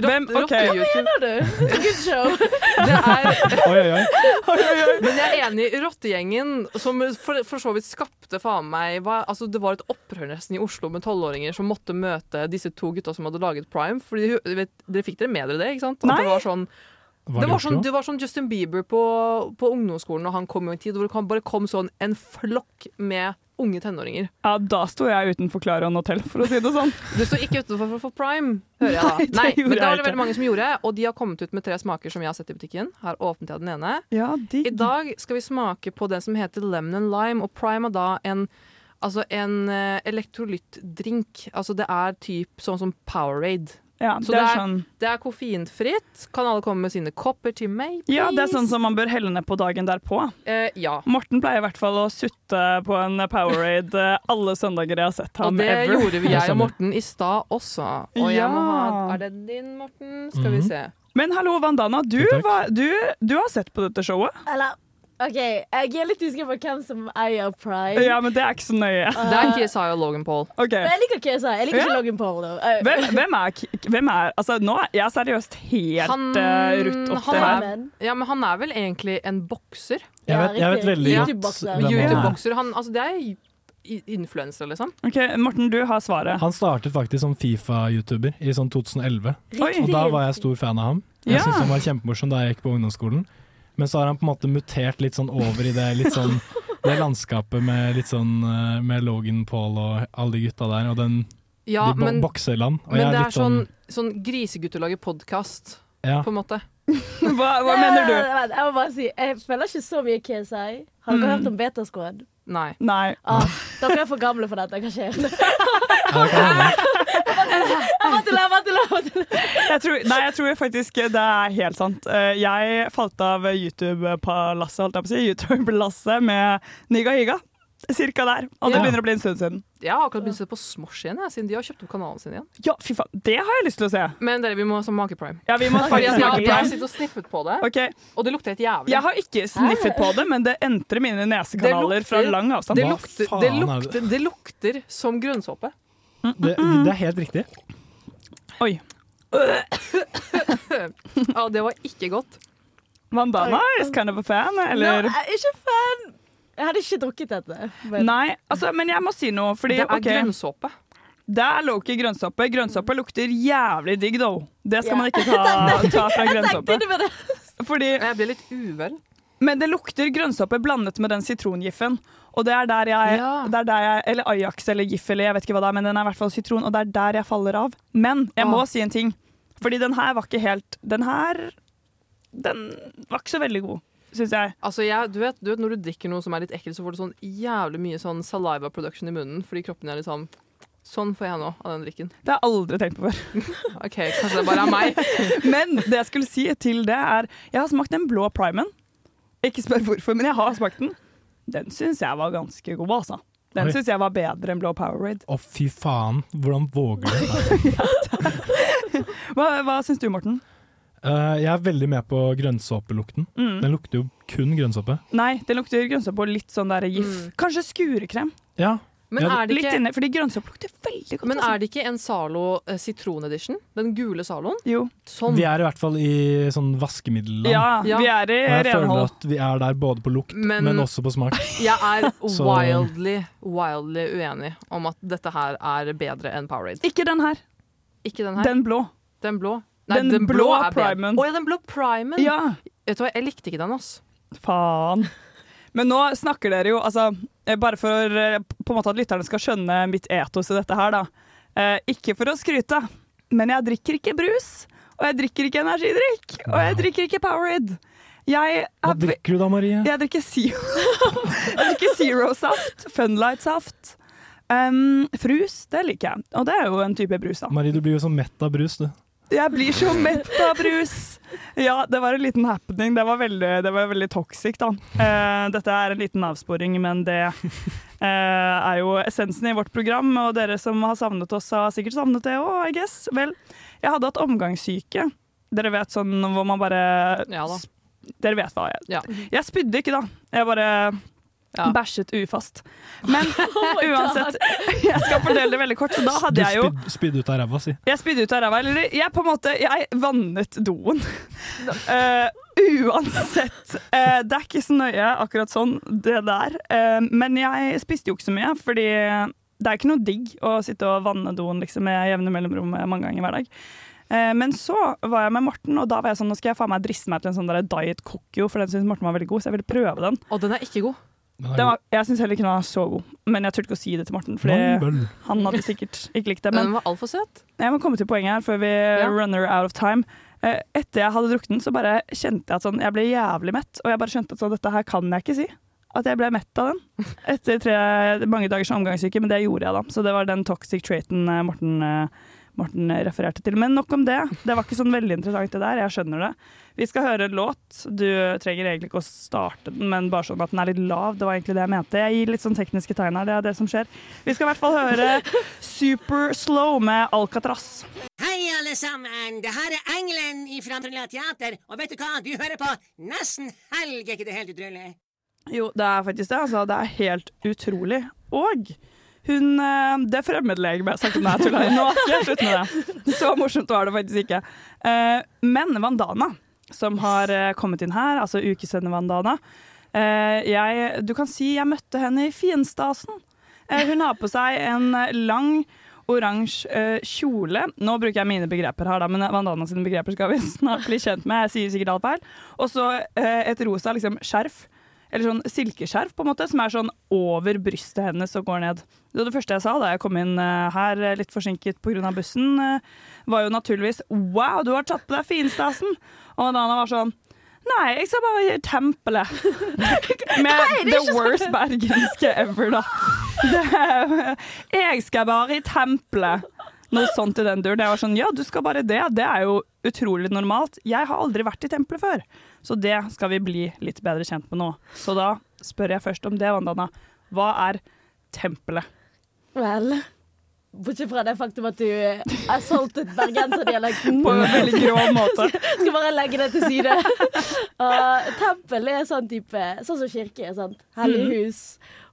Speaker 6: Hvem? Ok.
Speaker 3: Rotte-YouTube.
Speaker 7: Hva er det? Good show.
Speaker 3: Det er,
Speaker 2: Oi, oi, oi.
Speaker 3: men jeg er enig i rottegjengen, som for, for så vidt skapte faen meg hva, altså Det var et opprør nesten i Oslo med tolvåringer som måtte møte disse to gutta som hadde laget Prime. Fordi, de- vet, dere fikk dere med dere det? ikke sant? At
Speaker 6: Nei.
Speaker 3: Det var sånn
Speaker 2: Var
Speaker 3: det var,
Speaker 2: i
Speaker 3: sånn,
Speaker 2: Oslo?
Speaker 3: det var sånn Justin Bieber på, på ungdomsskolen Når han kom jo en tid, hvor det kom- bare kom sånn en flokk med unge tenåringer.
Speaker 6: Ja, da sto jeg utenfor Clarion Hotel, for å si det sånn.
Speaker 3: Du står ikke utenfor for Prime, hører jeg da.
Speaker 6: Nei, det
Speaker 3: Nei,
Speaker 6: gjorde
Speaker 3: men det
Speaker 6: jeg
Speaker 3: var det
Speaker 6: ikke.
Speaker 3: veldig mange som gjorde, og de har kommet ut med tre smaker som jeg har sett i butikken. Her åpnet jeg den ene.
Speaker 6: Ja,
Speaker 3: I dag skal vi smake på den som heter Lemon and Lime, og Prime er da en Altså en eh, elektrolyttdrink. Altså det er typ sånn som Powerade.
Speaker 6: Ja,
Speaker 3: Så
Speaker 6: det
Speaker 3: det
Speaker 6: er
Speaker 3: er-
Speaker 6: sånn,
Speaker 3: Det er koffeinfritt. Kan alle komme med sine kopper til meg?
Speaker 6: ja, det er sånn som man bør helle ned på dagen derpå.
Speaker 3: Eh, ja.
Speaker 6: Morten pleier i hvert fall å sutte på en Powerade eh, alle søndager jeg har sett
Speaker 3: Og
Speaker 6: ham
Speaker 3: det
Speaker 6: ever.
Speaker 3: gjorde vi, jeg og Morten i stad også. Og jeg må ha en
Speaker 6: Ja.
Speaker 3: Er det din, Morten? Skal vi
Speaker 2: Mhm.
Speaker 3: se.
Speaker 6: Men hallo, Vandana, du,
Speaker 2: Takk, takk.
Speaker 6: var, du, du har sett på dette showet?
Speaker 7: Eller, OK, jeg er litt usikker på hvem som eier Pride.
Speaker 6: Ja, men det er ikke så nøye.
Speaker 3: Det er ikke Isaiah Logan Paul.
Speaker 6: Ok,
Speaker 7: Men jeg liker KSI. Jeg liker
Speaker 6: Ja.
Speaker 7: ikke Logan Paul, da. Eh,
Speaker 6: Hvem, hvem, er, k- hvem er Altså, nå er jeg seriøst helt
Speaker 3: Han-
Speaker 6: eh, rutt opp
Speaker 3: han
Speaker 6: det
Speaker 7: er
Speaker 6: her.
Speaker 7: menn.
Speaker 3: Ja, men han er vel egentlig en bokser?
Speaker 2: Jeg vet, jeg vet veldig
Speaker 3: Ja,
Speaker 2: godt
Speaker 7: riktig.
Speaker 2: hvem han er.
Speaker 3: YouTube-bokser. Han, altså, det er i- influencer, liksom.
Speaker 6: Ok, Morten, du har svaret.
Speaker 2: Han startet faktisk som Fifa-YouTuber i sånn 2011,
Speaker 6: Oi.
Speaker 2: og da var jeg stor fan av ham. Jeg
Speaker 6: Ja.
Speaker 2: syntes han var kjempemorsom da jeg gikk på ungdomsskolen. Men så har han på en måte mutert litt sånn over i det, litt sånn, det landskapet med litt sånn eh, Med Logan Paul og alle de gutta der, og den
Speaker 3: Ja,
Speaker 2: de bo
Speaker 3: men-
Speaker 2: bokseland. Og
Speaker 3: Men
Speaker 2: jeg
Speaker 3: det er
Speaker 2: litt sånn-
Speaker 3: sånn, sånn grisegutter lager podkast,
Speaker 2: Ja.
Speaker 3: på en måte.
Speaker 6: hva,
Speaker 7: Jeg, må bare si, jeg følger ikke så mye KSI. Har
Speaker 6: Mm.
Speaker 7: dere hørt om Betasquad?
Speaker 3: Nei.
Speaker 7: Ah, dere er for gamle for dette. Hva skjer?
Speaker 6: Jeg tror, nei, jeg tror faktisk det er helt sant. Eh, Jeg falt av YouTube-palasset, holdt jeg på å si. YouTube-lasset med Niga Higa. Cirka der. Og det
Speaker 3: Ja.
Speaker 6: begynner å bli en stund siden.
Speaker 3: Jeg har akkurat begynt å se på Smosh igjen, jeg, siden de har kjøpt opp kanalen sin igjen.
Speaker 6: Ja, fy faen. Det har jeg lyst til å se.
Speaker 3: Men dere, vi må som Maki Prime.
Speaker 6: Ja, vi må
Speaker 3: Fordi
Speaker 6: faktisk
Speaker 3: jeg,
Speaker 6: Maki
Speaker 3: jeg,
Speaker 6: Prime.
Speaker 3: jeg sitter og sniffer på det,
Speaker 6: Ok.
Speaker 3: og det lukter helt jævlig.
Speaker 6: Jeg har ikke sniffet på det, men det entrer mine nesekanaler fra lang avstand.
Speaker 3: Det lukter, det
Speaker 6: Hva faen er
Speaker 3: lukter, det lukter som grønnsåpe.
Speaker 2: Det, det er helt riktig.
Speaker 6: Oi.
Speaker 3: ja, det var ikke godt.
Speaker 6: Vandana is kind of a fan, eller?
Speaker 7: No, jeg er ikke fan. Jeg hadde ikke drukket dette. men-
Speaker 6: Nei, altså, men jeg må si noe, fordi
Speaker 7: Det er
Speaker 6: ok.
Speaker 7: grønnsåpe.
Speaker 6: Det er Loki grønnsåpe. Grønnsåpe lukter jævlig digg, though. Det skal
Speaker 7: Ja.
Speaker 6: man ikke ta, ta fra
Speaker 7: Jeg
Speaker 6: grønnsåpe.
Speaker 7: tenkte det var det.
Speaker 6: Fordi
Speaker 3: Jeg ble litt uvel.
Speaker 6: Men det lukter grønnsåpe blandet med den sitrongiffen. Og det er der jeg, det er der jeg Eller Ajax eller Giff eller jeg vet ikke hva det er, men den er i hvert fall sitron, og det er der jeg faller av. Men jeg må
Speaker 3: Ah.
Speaker 6: si en ting. Fordi den her var ikke helt Den her Den var ikke så veldig god, syns jeg.
Speaker 3: Altså, jeg, du, vet, du vet når du drikker noe som er litt ekkelt, så får du sånn jævlig mye sånn saliva production i munnen, fordi kroppen er litt sånn Sånn får jeg nå av den drikken.
Speaker 6: Det har jeg aldri tenkt på før.
Speaker 3: OK, kanskje det bare er meg.
Speaker 6: Men det jeg skulle si til det, er Jeg har smakt den blå primen. Ikke spør hvorfor, men jeg har smakt den. Den syns jeg var ganske god, altså. Den
Speaker 2: Oi.
Speaker 6: syns jeg var bedre enn blå Powerade.
Speaker 2: Å, fy faen. Hvordan våger du?
Speaker 6: Hva, hva syns du, Morten?
Speaker 2: Eh, jeg er veldig med på grønnsåpelukten.
Speaker 6: Mm.
Speaker 2: Den lukter jo kun grønnsåpe.
Speaker 6: Nei, det lukter grønnsåpe og litt sånn der gif. Kanskje skurekrem.
Speaker 2: Ja.
Speaker 3: Men
Speaker 2: ja,
Speaker 3: Mm. er det
Speaker 6: Litt
Speaker 3: ikke-
Speaker 6: inne, fordi grønnsåpe lukter veldig godt. altså.
Speaker 3: Men er det ikke en Zalo eh, sitron-edition? Den gule Zaloen?
Speaker 6: Jo.
Speaker 3: Sånn.
Speaker 2: Vi er i hvert fall i sånn vaskemiddelland.
Speaker 3: Ja, vi er i
Speaker 2: Og jeg føler
Speaker 3: renhold.
Speaker 2: at vi er der både på lukt,
Speaker 3: Men-
Speaker 2: men, også på smak.
Speaker 3: Jeg er
Speaker 2: Så-
Speaker 3: wildly, wildly uenig om at dette her er bedre enn Powerade.
Speaker 6: Ikke den her.
Speaker 3: Ikke den her.
Speaker 6: Den blå.
Speaker 3: Den blå.
Speaker 6: Den blå
Speaker 3: er bedre.
Speaker 6: primen.
Speaker 3: Å ja, den blå primen.
Speaker 6: Ja.
Speaker 3: Vet du hva, jeg likte ikke den, ass.
Speaker 6: Faen. Men nå snakker dere jo, altså, eh, bare for eh, på en måte at lytterne skal skjønne mitt etos i dette her, da. Eh, ikke for å skryte, men jeg drikker ikke brus, og jeg drikker ikke energidrikk, og jeg drikker ikke Powerade. Jeg,
Speaker 2: Hva
Speaker 6: er-
Speaker 2: drikker du da, Marie?
Speaker 6: jeg drikker Zero. jeg drikker Zero-saft, Funlight-saft. Um, frus, det liker jeg. Og det er jo en type brus, da.
Speaker 2: Marie, du blir jo sånn mett av brus, du.
Speaker 6: Jeg blir så mett av brus. Ja, det var en liten happening. Det var veldig, det var veldig toxic, da. Eh, dette er en liten avsporing, men det eh, er jo essensen i vårt program. Og dere som har savnet oss, har sikkert savnet det òg, I guess. Vel, jeg hadde hatt omgangssyke. Dere vet sånn hvor man bare
Speaker 3: Ja da.
Speaker 6: Dere vet hva jeg
Speaker 3: Ja.
Speaker 6: Jeg spydde ikke, da. Jeg bare bæsjet ufast. Men
Speaker 7: Oh
Speaker 6: uansett, jeg skal fordele det veldig kort, så da
Speaker 2: Du
Speaker 6: hadde jeg jo
Speaker 2: spyd- spydde ut av ræva si.
Speaker 6: jeg spydde ut av ræva. Eller jeg på en måte Jeg vannet doen. Eh, uansett. eh, det er ikke så nøye akkurat sånn, det der. Eh, men jeg spiste jo ikke så mye, fordi det er ikke noe digg å sitte og vanne doen liksom, med jevne mellomrom eh, mange ganger hver dag. Eh, Men så var jeg med Morten, og da var jeg sånn, nå skal jeg faen meg driste meg til en sånn der Diet Coco, for den syns Morten var veldig god, så jeg ville prøve den.
Speaker 3: Og den er ikke god.
Speaker 2: Den
Speaker 6: var, jeg syns heller ikke den var så god, men jeg turte ikke å si det til Morten, fordi
Speaker 2: Mangel.
Speaker 6: han hadde sikkert ikke likt det.
Speaker 3: Den
Speaker 6: Men
Speaker 3: var altfor søt.
Speaker 6: jeg må komme til poenget her før vi runner out of time. Eh, Etter jeg hadde drukket den, så bare kjente jeg at sånn, jeg ble jævlig mett. Og jeg bare skjønte at sånn, dette her kan jeg ikke si. At jeg ble mett av den. Etter tre, mange dagers omgangssyke, men det gjorde jeg da. Så det var den toxic traiten eh, Morten, eh, Morten eh, refererte til. Men nok om det. Det var ikke sånn veldig interessant det der, jeg skjønner det. Vi skal høre en låt. Du trenger egentlig ikke å starte den, men bare sånn at den er litt lav. Det var egentlig det jeg mente. Jeg gir litt sånn tekniske tegn her, det er det som skjer. Vi skal i hvert fall høre Super Slow med Alcatraz.
Speaker 8: Hei, alle sammen! Det her er Engelen i Framtida Teater, og vet du hva? Du hører på Nesten Helg, er ikke det helt utrolig?
Speaker 6: Jo, det er faktisk det. Altså, det er helt utrolig. Og hun eh, Det fremmedlegemet jeg snakket om, nei, jeg tuller. Nå skal jeg slutte med det. Så morsomt var det faktisk ikke. Eh, Men Vandana, som har eh, kommet inn her, altså ukesendende Vandana eh, jeg, Du kan si jeg møtte henne i Fienstasen. Eh, Hun har på seg en eh, lang oransje eh, kjole. Nå bruker jeg mine begreper her, da, men Vandana sine begreper skal vi snart bli kjent med. Jeg sier sikkert alt feil. Og så eh, et rosa liksom, skjerf. Eller sånn silkeskjerf, på en måte, som er sånn over brystet hennes og går ned. Det, var det første jeg sa da jeg kom inn eh, her, eh, litt forsinket pga. bussen, eh, var jo naturligvis 'wow, du har tatt på deg finstasen'. Og Vandana var sånn Nei, jeg skal bare i tempelet. Med
Speaker 3: Nei, det er
Speaker 6: the
Speaker 3: ikke
Speaker 6: worst
Speaker 3: sant.
Speaker 6: bergenske ever, da. Det, er- jeg skal bare i tempelet. Noe sånt i den duren. Jeg var sånn, ja, du skal bare det. Det er jo utrolig normalt. Jeg har aldri vært i tempelet før. Så det skal vi bli litt bedre kjent med nå. Så da spør jeg først om det, Vandana. Hva er tempelet?
Speaker 7: Vel Bortsett fra det faktum at du eh, assaultet bergenserdialekten.
Speaker 6: På en veldig grov måte.
Speaker 7: Skal bare legge det til side. Og tempel er sånn type Sånn som kirke er, sant. Hellig
Speaker 6: Mhm.
Speaker 7: hus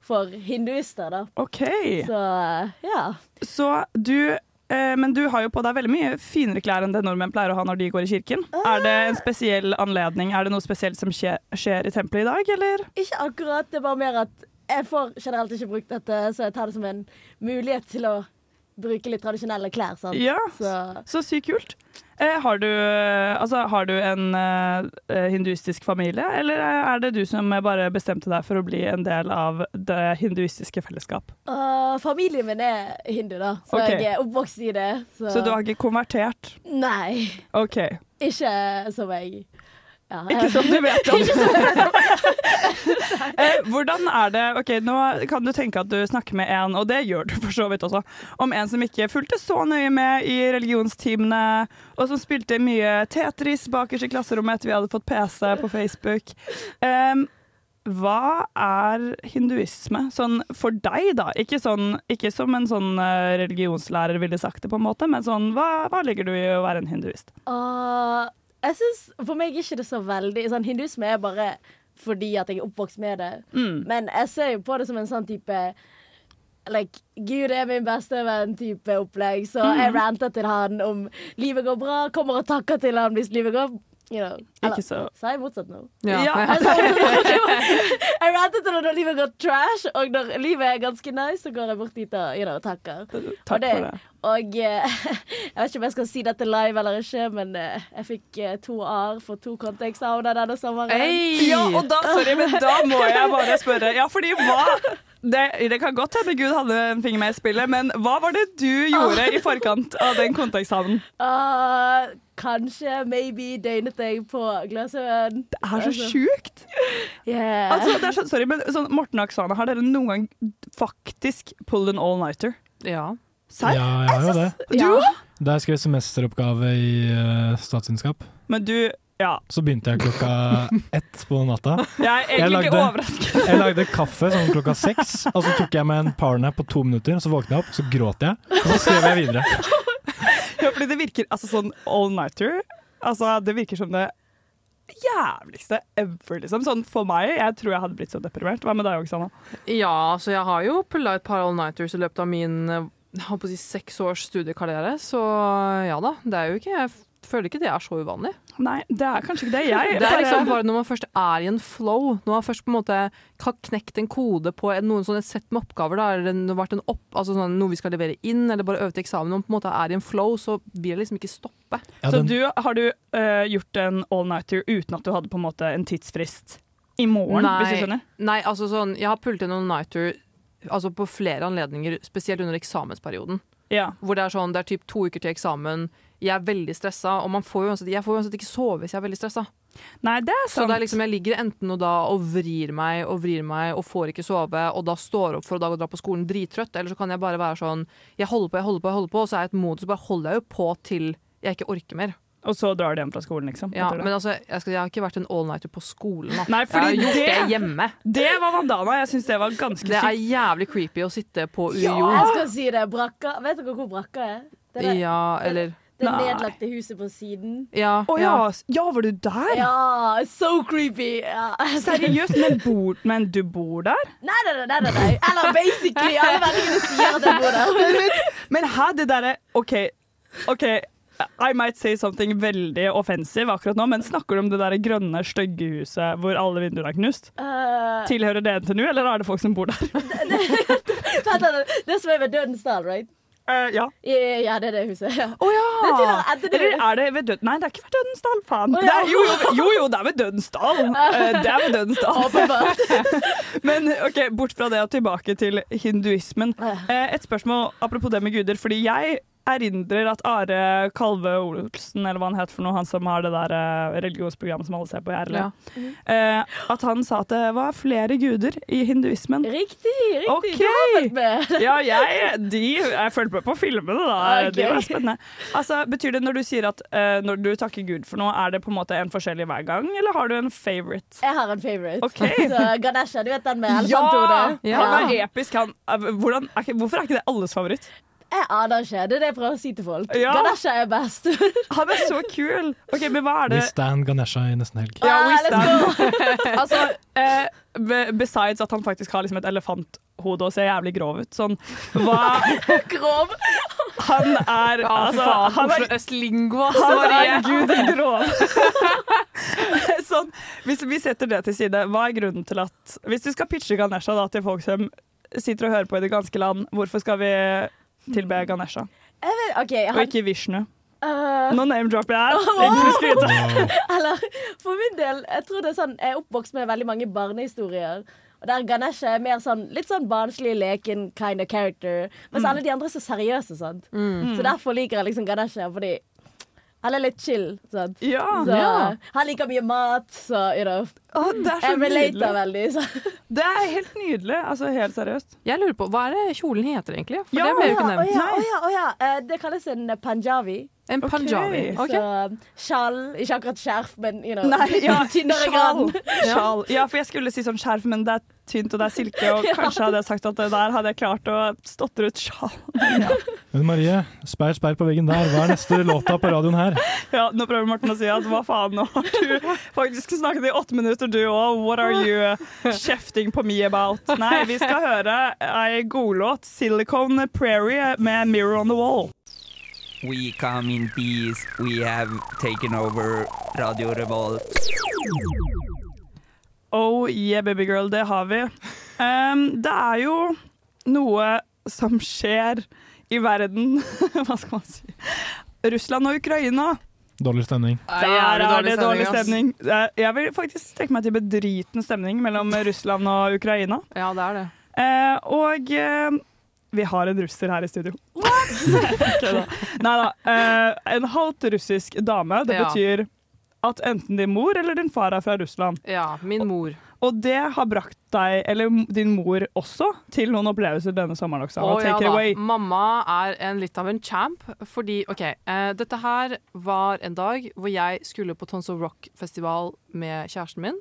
Speaker 7: for hinduister, da.
Speaker 6: OK.
Speaker 7: Så eh, ja.
Speaker 6: Så du eh, men du har jo på deg veldig mye finere klær enn det nordmenn pleier å ha når de går i kirken. Er det en spesiell anledning? Er det noe spesielt som skje, skjer i tempelet i dag, eller?
Speaker 7: Ikke akkurat, det er bare mer at jeg får generelt ikke brukt dette, så jeg tar det som en mulighet til å bruke litt tradisjonelle klær, sant.
Speaker 6: Ja,
Speaker 7: Så
Speaker 6: så, sykt kult. Eh, har, du, eh, altså, har du en eh, hinduistisk familie, eller eh, er det du som bare bestemte deg for å bli en del av det hinduistiske fellesskap?
Speaker 7: og familien min er hindu, da, så
Speaker 6: Ok.
Speaker 7: jeg er oppvokst i det. Så,
Speaker 6: Så du har ikke konvertert?
Speaker 7: Nei.
Speaker 6: OK.
Speaker 7: Ikke som jeg ja,
Speaker 6: Ikke som du vet om.
Speaker 7: Ikke som jeg vet om.
Speaker 6: Eh, hvordan er det Ok, nå kan du tenke at du snakker med en, og det gjør du for så vidt også, om en som ikke fulgte så nøye med i religionstimene, og som spilte mye Tetris bakerst i klasserommet etter vi hadde fått PC på Facebook. Em, hva er hinduisme sånn for deg, da? Ikke, sånn, ikke som en sånn eh, religionslærer ville sagt det, på en måte, men sånn hva, hva ligger du i å være en hinduist?
Speaker 7: Og Ah, jeg synes, For meg er ikke det så veldig sånn, Hinduisme er bare fordi at jeg er oppvokst med det.
Speaker 6: Mm.
Speaker 7: Men jeg ser jo på det som en sånn type like, Gud er min beste venn-type opplegg. Så
Speaker 6: Mm.
Speaker 7: jeg ranter til han om livet går bra, kommer og takker til han hvis livet går you know. Eller,
Speaker 6: Ikke så-
Speaker 7: Sa jeg motsatt nå?
Speaker 6: Ja. Ja.
Speaker 7: Altså, jeg ranter til han når livet går trash, og når livet er ganske nice, så går jeg bort dit og you know, takker.
Speaker 6: Takk
Speaker 7: og det,
Speaker 6: for det.
Speaker 7: og eh, jeg vet ikke om jeg skal si dette live eller ikke, men eh, jeg fikk eh, to A-er for to konteksthavner denne sommeren.
Speaker 6: Ei! Ja, og da, sorry, men da må jeg bare spørre. Ja, fordi hva det, det kan godt hende Gud hadde en finger med i spillet, men hva var det du gjorde i forkant av den konteksthavnen?
Speaker 7: Ah, kanskje, maybe, døgnet jeg på Gløshaugen. Det
Speaker 6: er så sjukt!
Speaker 7: Yeah.
Speaker 6: Altså, det er så, sorry, men sånn, Morten og Aksane, har dere noen gang faktisk pulled an all-nighter?
Speaker 3: Ja.
Speaker 6: Serr?
Speaker 2: Ja, jeg har jo det.
Speaker 6: Du òg?
Speaker 2: Da jeg skrev semesteroppgave i eh, statsvitenskap,
Speaker 6: Men du Ja.
Speaker 2: så begynte jeg klokka ett på natta.
Speaker 6: Jeg er egentlig ikke overrasket.
Speaker 2: jeg lagde kaffe sånn klokka seks, og så tok jeg meg en parnap på to minutter, og så våkna jeg opp, så gråt jeg, og så skrev jeg videre.
Speaker 6: Ja, fordi det virker altså sånn all-nighter. Altså, det virker som det jævligste ever, liksom. Sånn for meg. Jeg tror jeg hadde blitt så deprimert. Hva med deg, Oksana?
Speaker 3: Ja, så jeg har jo pulla et par all-nighters i løpet av min eh, jeg holdt på å si, seks års studiekarriere, så ja da. Det er jo ikke, jeg føler ikke det er så uvanlig.
Speaker 6: Nei, det er kanskje ikke det. Jeg
Speaker 3: det er
Speaker 6: bare- sånn,
Speaker 3: liksom bare når man først er i en flow, når man først på en måte har knekt en kode på en- noen sånne sett med oppgaver, da, eller det har vært en opp, altså sånn, noe vi skal levere inn, eller bare øve til eksamen, når man på en måte er i en flow, så vil det liksom ikke stoppe.
Speaker 6: Så du, har du eh, gjort en all-nighter uten at du hadde på en måte en tidsfrist i morgen, hvis du skjønner?
Speaker 3: Nei, altså sånn, jeg har pult inn noen nighter altså på flere anledninger, spesielt under eksamensperioden.
Speaker 6: Ja.
Speaker 3: Hvor det er sånn, det er typ to uker til eksamen, jeg er veldig stressa, og man får jo uansett, jeg får jo uansett ikke sove hvis jeg er veldig stressa.
Speaker 6: Nei, det er
Speaker 3: Så
Speaker 6: sant.
Speaker 3: det er liksom, jeg ligger enten og da og vrir meg og vrir meg og får ikke sove, og da står opp for å da gå og dra på skolen drittrøtt, eller så kan jeg bare være sånn, jeg holder på, jeg holder på, jeg holder på, og så er jeg et modus, så bare holder jeg jo på til jeg ikke orker mer.
Speaker 6: Og så drar du hjem fra skolen, liksom?
Speaker 3: Ja,
Speaker 6: etter det.
Speaker 3: men altså, jeg, skal, jeg har ikke vært en all-nighter på skolen. Da.
Speaker 6: Nei, fordi
Speaker 3: jeg har gjort det,
Speaker 6: det-
Speaker 3: hjemme.
Speaker 6: Det var Vandana. Jeg syns det var ganske
Speaker 3: Det er
Speaker 6: sykt.
Speaker 3: jævlig creepy å sitte på UiO.
Speaker 7: Jeg skal si det. Brakka. Vet dere hvor brakka er? Det, der,
Speaker 3: Ja, eller
Speaker 7: det
Speaker 3: Nei.
Speaker 7: nedlagte huset på siden.
Speaker 3: Ja,
Speaker 6: Å ja. s- ja, var du der?
Speaker 7: Ja, so creepy! Ja.
Speaker 6: Seriøst, men, bor, men du bor der?
Speaker 7: Nei, nei, nei, nei, nei. Eller basically, alle vennene sier at jeg bor
Speaker 6: Men
Speaker 7: der.
Speaker 6: vent, Men her, det derre OK, OK. I might say something veldig offensive akkurat nå, men snakker du om det der grønne, stygge huset hvor alle vinduene er knust?
Speaker 7: Eh,
Speaker 6: Tilhører det NTNU, eller er det folk som bor der?
Speaker 7: Vent, vent, vent. Det som er ved Dødens dal, right?
Speaker 6: Eh, ja.
Speaker 7: Ja, det er det huset. Ja.
Speaker 6: Å ja!
Speaker 7: Det tilhører Edderud.
Speaker 6: Eller er det ved døden... Nei, det er ikke ved Dødensdal, faen.
Speaker 7: Å,
Speaker 6: Det
Speaker 7: ja.
Speaker 6: er, jo, jo, jo, jo, det er ved Dødensdal. Eh, det er ved Dødensdal. Men ok, bort fra det og tilbake til hinduismen. Eh, et spørsmål apropos det med guder, fordi jeg erindrer at Are Kalve Olsen, eller hva han het for noe, han som har det der eh, religionsprogrammet som alle ser på i RL,
Speaker 3: Ja.
Speaker 6: eh, at han sa at det var flere guder i hinduismen.
Speaker 7: Riktig, riktig.
Speaker 6: Ok.
Speaker 7: Du har fulgt med.
Speaker 6: Ja, jeg, de, jeg fulgte med på filmene, da.
Speaker 7: Ok.
Speaker 6: De var spennende. Altså, betyr det når du sier at eh, når du takker Gud for noe, er det på en måte en forskjellig hver gang, eller har du en favorite?
Speaker 7: Jeg har en favorite.
Speaker 6: Ok.
Speaker 7: Så Ganesha, du vet den med
Speaker 6: Ja!
Speaker 7: elefanthodet?
Speaker 6: Han er episk. Han, eh, hvordan, er ikke, hvorfor er ikke det alles favoritt?
Speaker 7: Jeg aner ikke. Det er det jeg prøver å si til folk.
Speaker 6: Ja.
Speaker 7: Ganesha er best.
Speaker 6: Han er så kul! Ok, men hva
Speaker 2: Vi
Speaker 6: er det
Speaker 2: stan Ganesha i nesten helg.
Speaker 6: Ja, we
Speaker 7: Ah, let's
Speaker 6: stand. altså, eh, be- besides at han faktisk har liksom et elefanthode og ser jævlig grov ut, sånn hva
Speaker 7: Grov.
Speaker 6: Han er
Speaker 3: Ja, fy
Speaker 6: altså,
Speaker 3: faen.
Speaker 6: han er
Speaker 3: Oslo Øst-lingo, altså,
Speaker 6: Han
Speaker 3: Marie.
Speaker 6: er gud grov. sånn, hvis vi setter det til side, hva er grunnen til at Hvis du skal pitche Ganesha da, til folk som sitter og hører på i det ganske land, hvorfor skal vi tilbe Ganesha?
Speaker 7: Jeg vet, ok,
Speaker 6: Og
Speaker 7: han,
Speaker 6: ikke Vishnu?
Speaker 7: øh,
Speaker 6: Nå name-dropper jeg her.
Speaker 7: Wow!
Speaker 6: Ikke for å skryte.
Speaker 7: Eller, for min del, jeg tror det er sånn Jeg er oppvokst med veldig mange barnehistorier. Og der Ganesha er mer sånn litt sånn barnslig, leken kind of character. Mens alle de andre er så seriøse. sant?
Speaker 6: Mm.
Speaker 7: Så derfor liker jeg liksom Ganesha, fordi han er litt chill. sant?
Speaker 6: Ja.
Speaker 7: Så,
Speaker 6: Ja.
Speaker 7: Han liker mye mat, så you know.
Speaker 6: Å, det er så
Speaker 7: jeg relater
Speaker 6: nydelig.
Speaker 7: veldig. Så.
Speaker 6: Det er helt nydelig. Altså, helt seriøst.
Speaker 3: Jeg lurer på, Hva er det kjolen heter egentlig? For
Speaker 6: Ja,
Speaker 3: det ble jo ikke
Speaker 7: Å
Speaker 3: nevnt.
Speaker 7: ja, å ja, å ja. Eh, Det kalles en panjavi.
Speaker 3: En panjavi. Ok.
Speaker 7: Så um, sjal Ikke akkurat skjerf, men you know,
Speaker 6: Nei, ja,
Speaker 7: tynnere
Speaker 6: sjal.
Speaker 7: grann.
Speaker 6: Sjal. Ja, for jeg skulle si sånn skjerf, men det er tynt og det er silke, og
Speaker 7: Ja.
Speaker 6: kanskje hadde jeg sagt at det der hadde jeg klart å stotre ut sjal.
Speaker 2: Men Marie, sperr, sperr på veggen der. Hva er neste låta på radioen her?
Speaker 6: Ja, nå prøver Morten å si at hva faen, nå har du faktisk snakket i åtte minutter du òg. What are you kjefting på me about? Nei, vi skal høre ei godlåt, 'Silicon Prairie', med 'Mirror on the Wall'.
Speaker 9: We come in peace. We have taken over Radio Revolt.
Speaker 6: Oh yeah, babygirl, det har vi. Ehm, det er jo noe som skjer i verden. Hva skal man si? Russland og Ukraina.
Speaker 2: Dårlig stemning.
Speaker 6: Der er det dårlig
Speaker 3: ass.
Speaker 6: stemning. Eh, Jeg vil faktisk strekke meg til bedriten stemning mellom Russland og Ukraina.
Speaker 3: Ja, det er det.
Speaker 6: Eh, og eh, vi har en russer her i studio. What?! Nei da. Eh, en halvt russisk dame. Det
Speaker 3: Ja.
Speaker 6: betyr at enten din mor eller din far er fra Russland.
Speaker 3: Ja, min mor.
Speaker 6: Og det har brakt deg, eller din mor også, til noen opplevelser denne sommeren,
Speaker 3: Å,
Speaker 6: Oksana. Take
Speaker 3: ja
Speaker 6: it
Speaker 3: da.
Speaker 6: away.
Speaker 3: Mamma er en, litt av en champ, fordi OK, eh, dette her var en dag hvor jeg skulle på Tonsor Rock-festival med kjæresten min.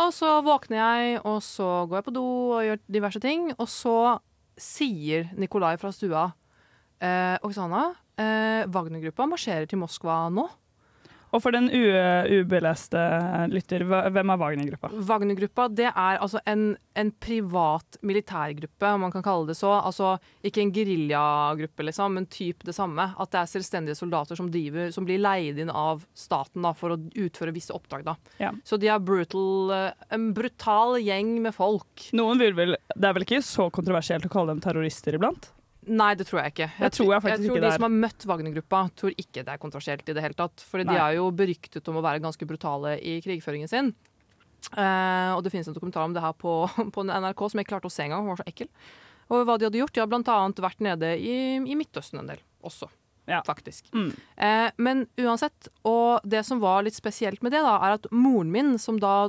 Speaker 3: Og så våkner jeg, og så går jeg på do og gjør diverse ting. Og så sier Nikolai fra stua eh, Oksana, eh, Wagner-gruppa marsjerer til Moskva nå.
Speaker 6: Og for den u- ubeleste lytter, hva- hvem er Wagner-gruppa?
Speaker 3: Wagner-gruppa det er altså en, en privat militærgruppe, om man kan kalle det så. Altså ikke en geriljagruppe, liksom, men typ det samme. At det er selvstendige soldater som, driver, som blir leid inn av staten da, for å utføre visse oppdrag. Da.
Speaker 6: Ja.
Speaker 3: Så de er brutal, eh, en brutal gjeng med folk.
Speaker 6: Noen vil vel Det er vel ikke så kontroversielt å kalle dem terrorister iblant?
Speaker 3: Nei, det tror jeg ikke.
Speaker 6: Det tror jeg faktisk
Speaker 3: tror
Speaker 6: ikke
Speaker 3: de
Speaker 6: det er.
Speaker 3: som har møtt Wagner-gruppa, tror ikke det er kontroversielt i det hele tatt. For de
Speaker 6: Nei.
Speaker 3: er jo beryktet om å være ganske brutale i krigføringen sin. Eh, og det finnes en dokumentar om det her på, på NRK som jeg ikke klarte å se engang. Den var så ekkel. Og hva de hadde gjort. De har blant annet vært nede i, i Midtøsten en del også, faktisk. Eh, men uansett, og det som var litt spesielt med det, da, er at moren min, som da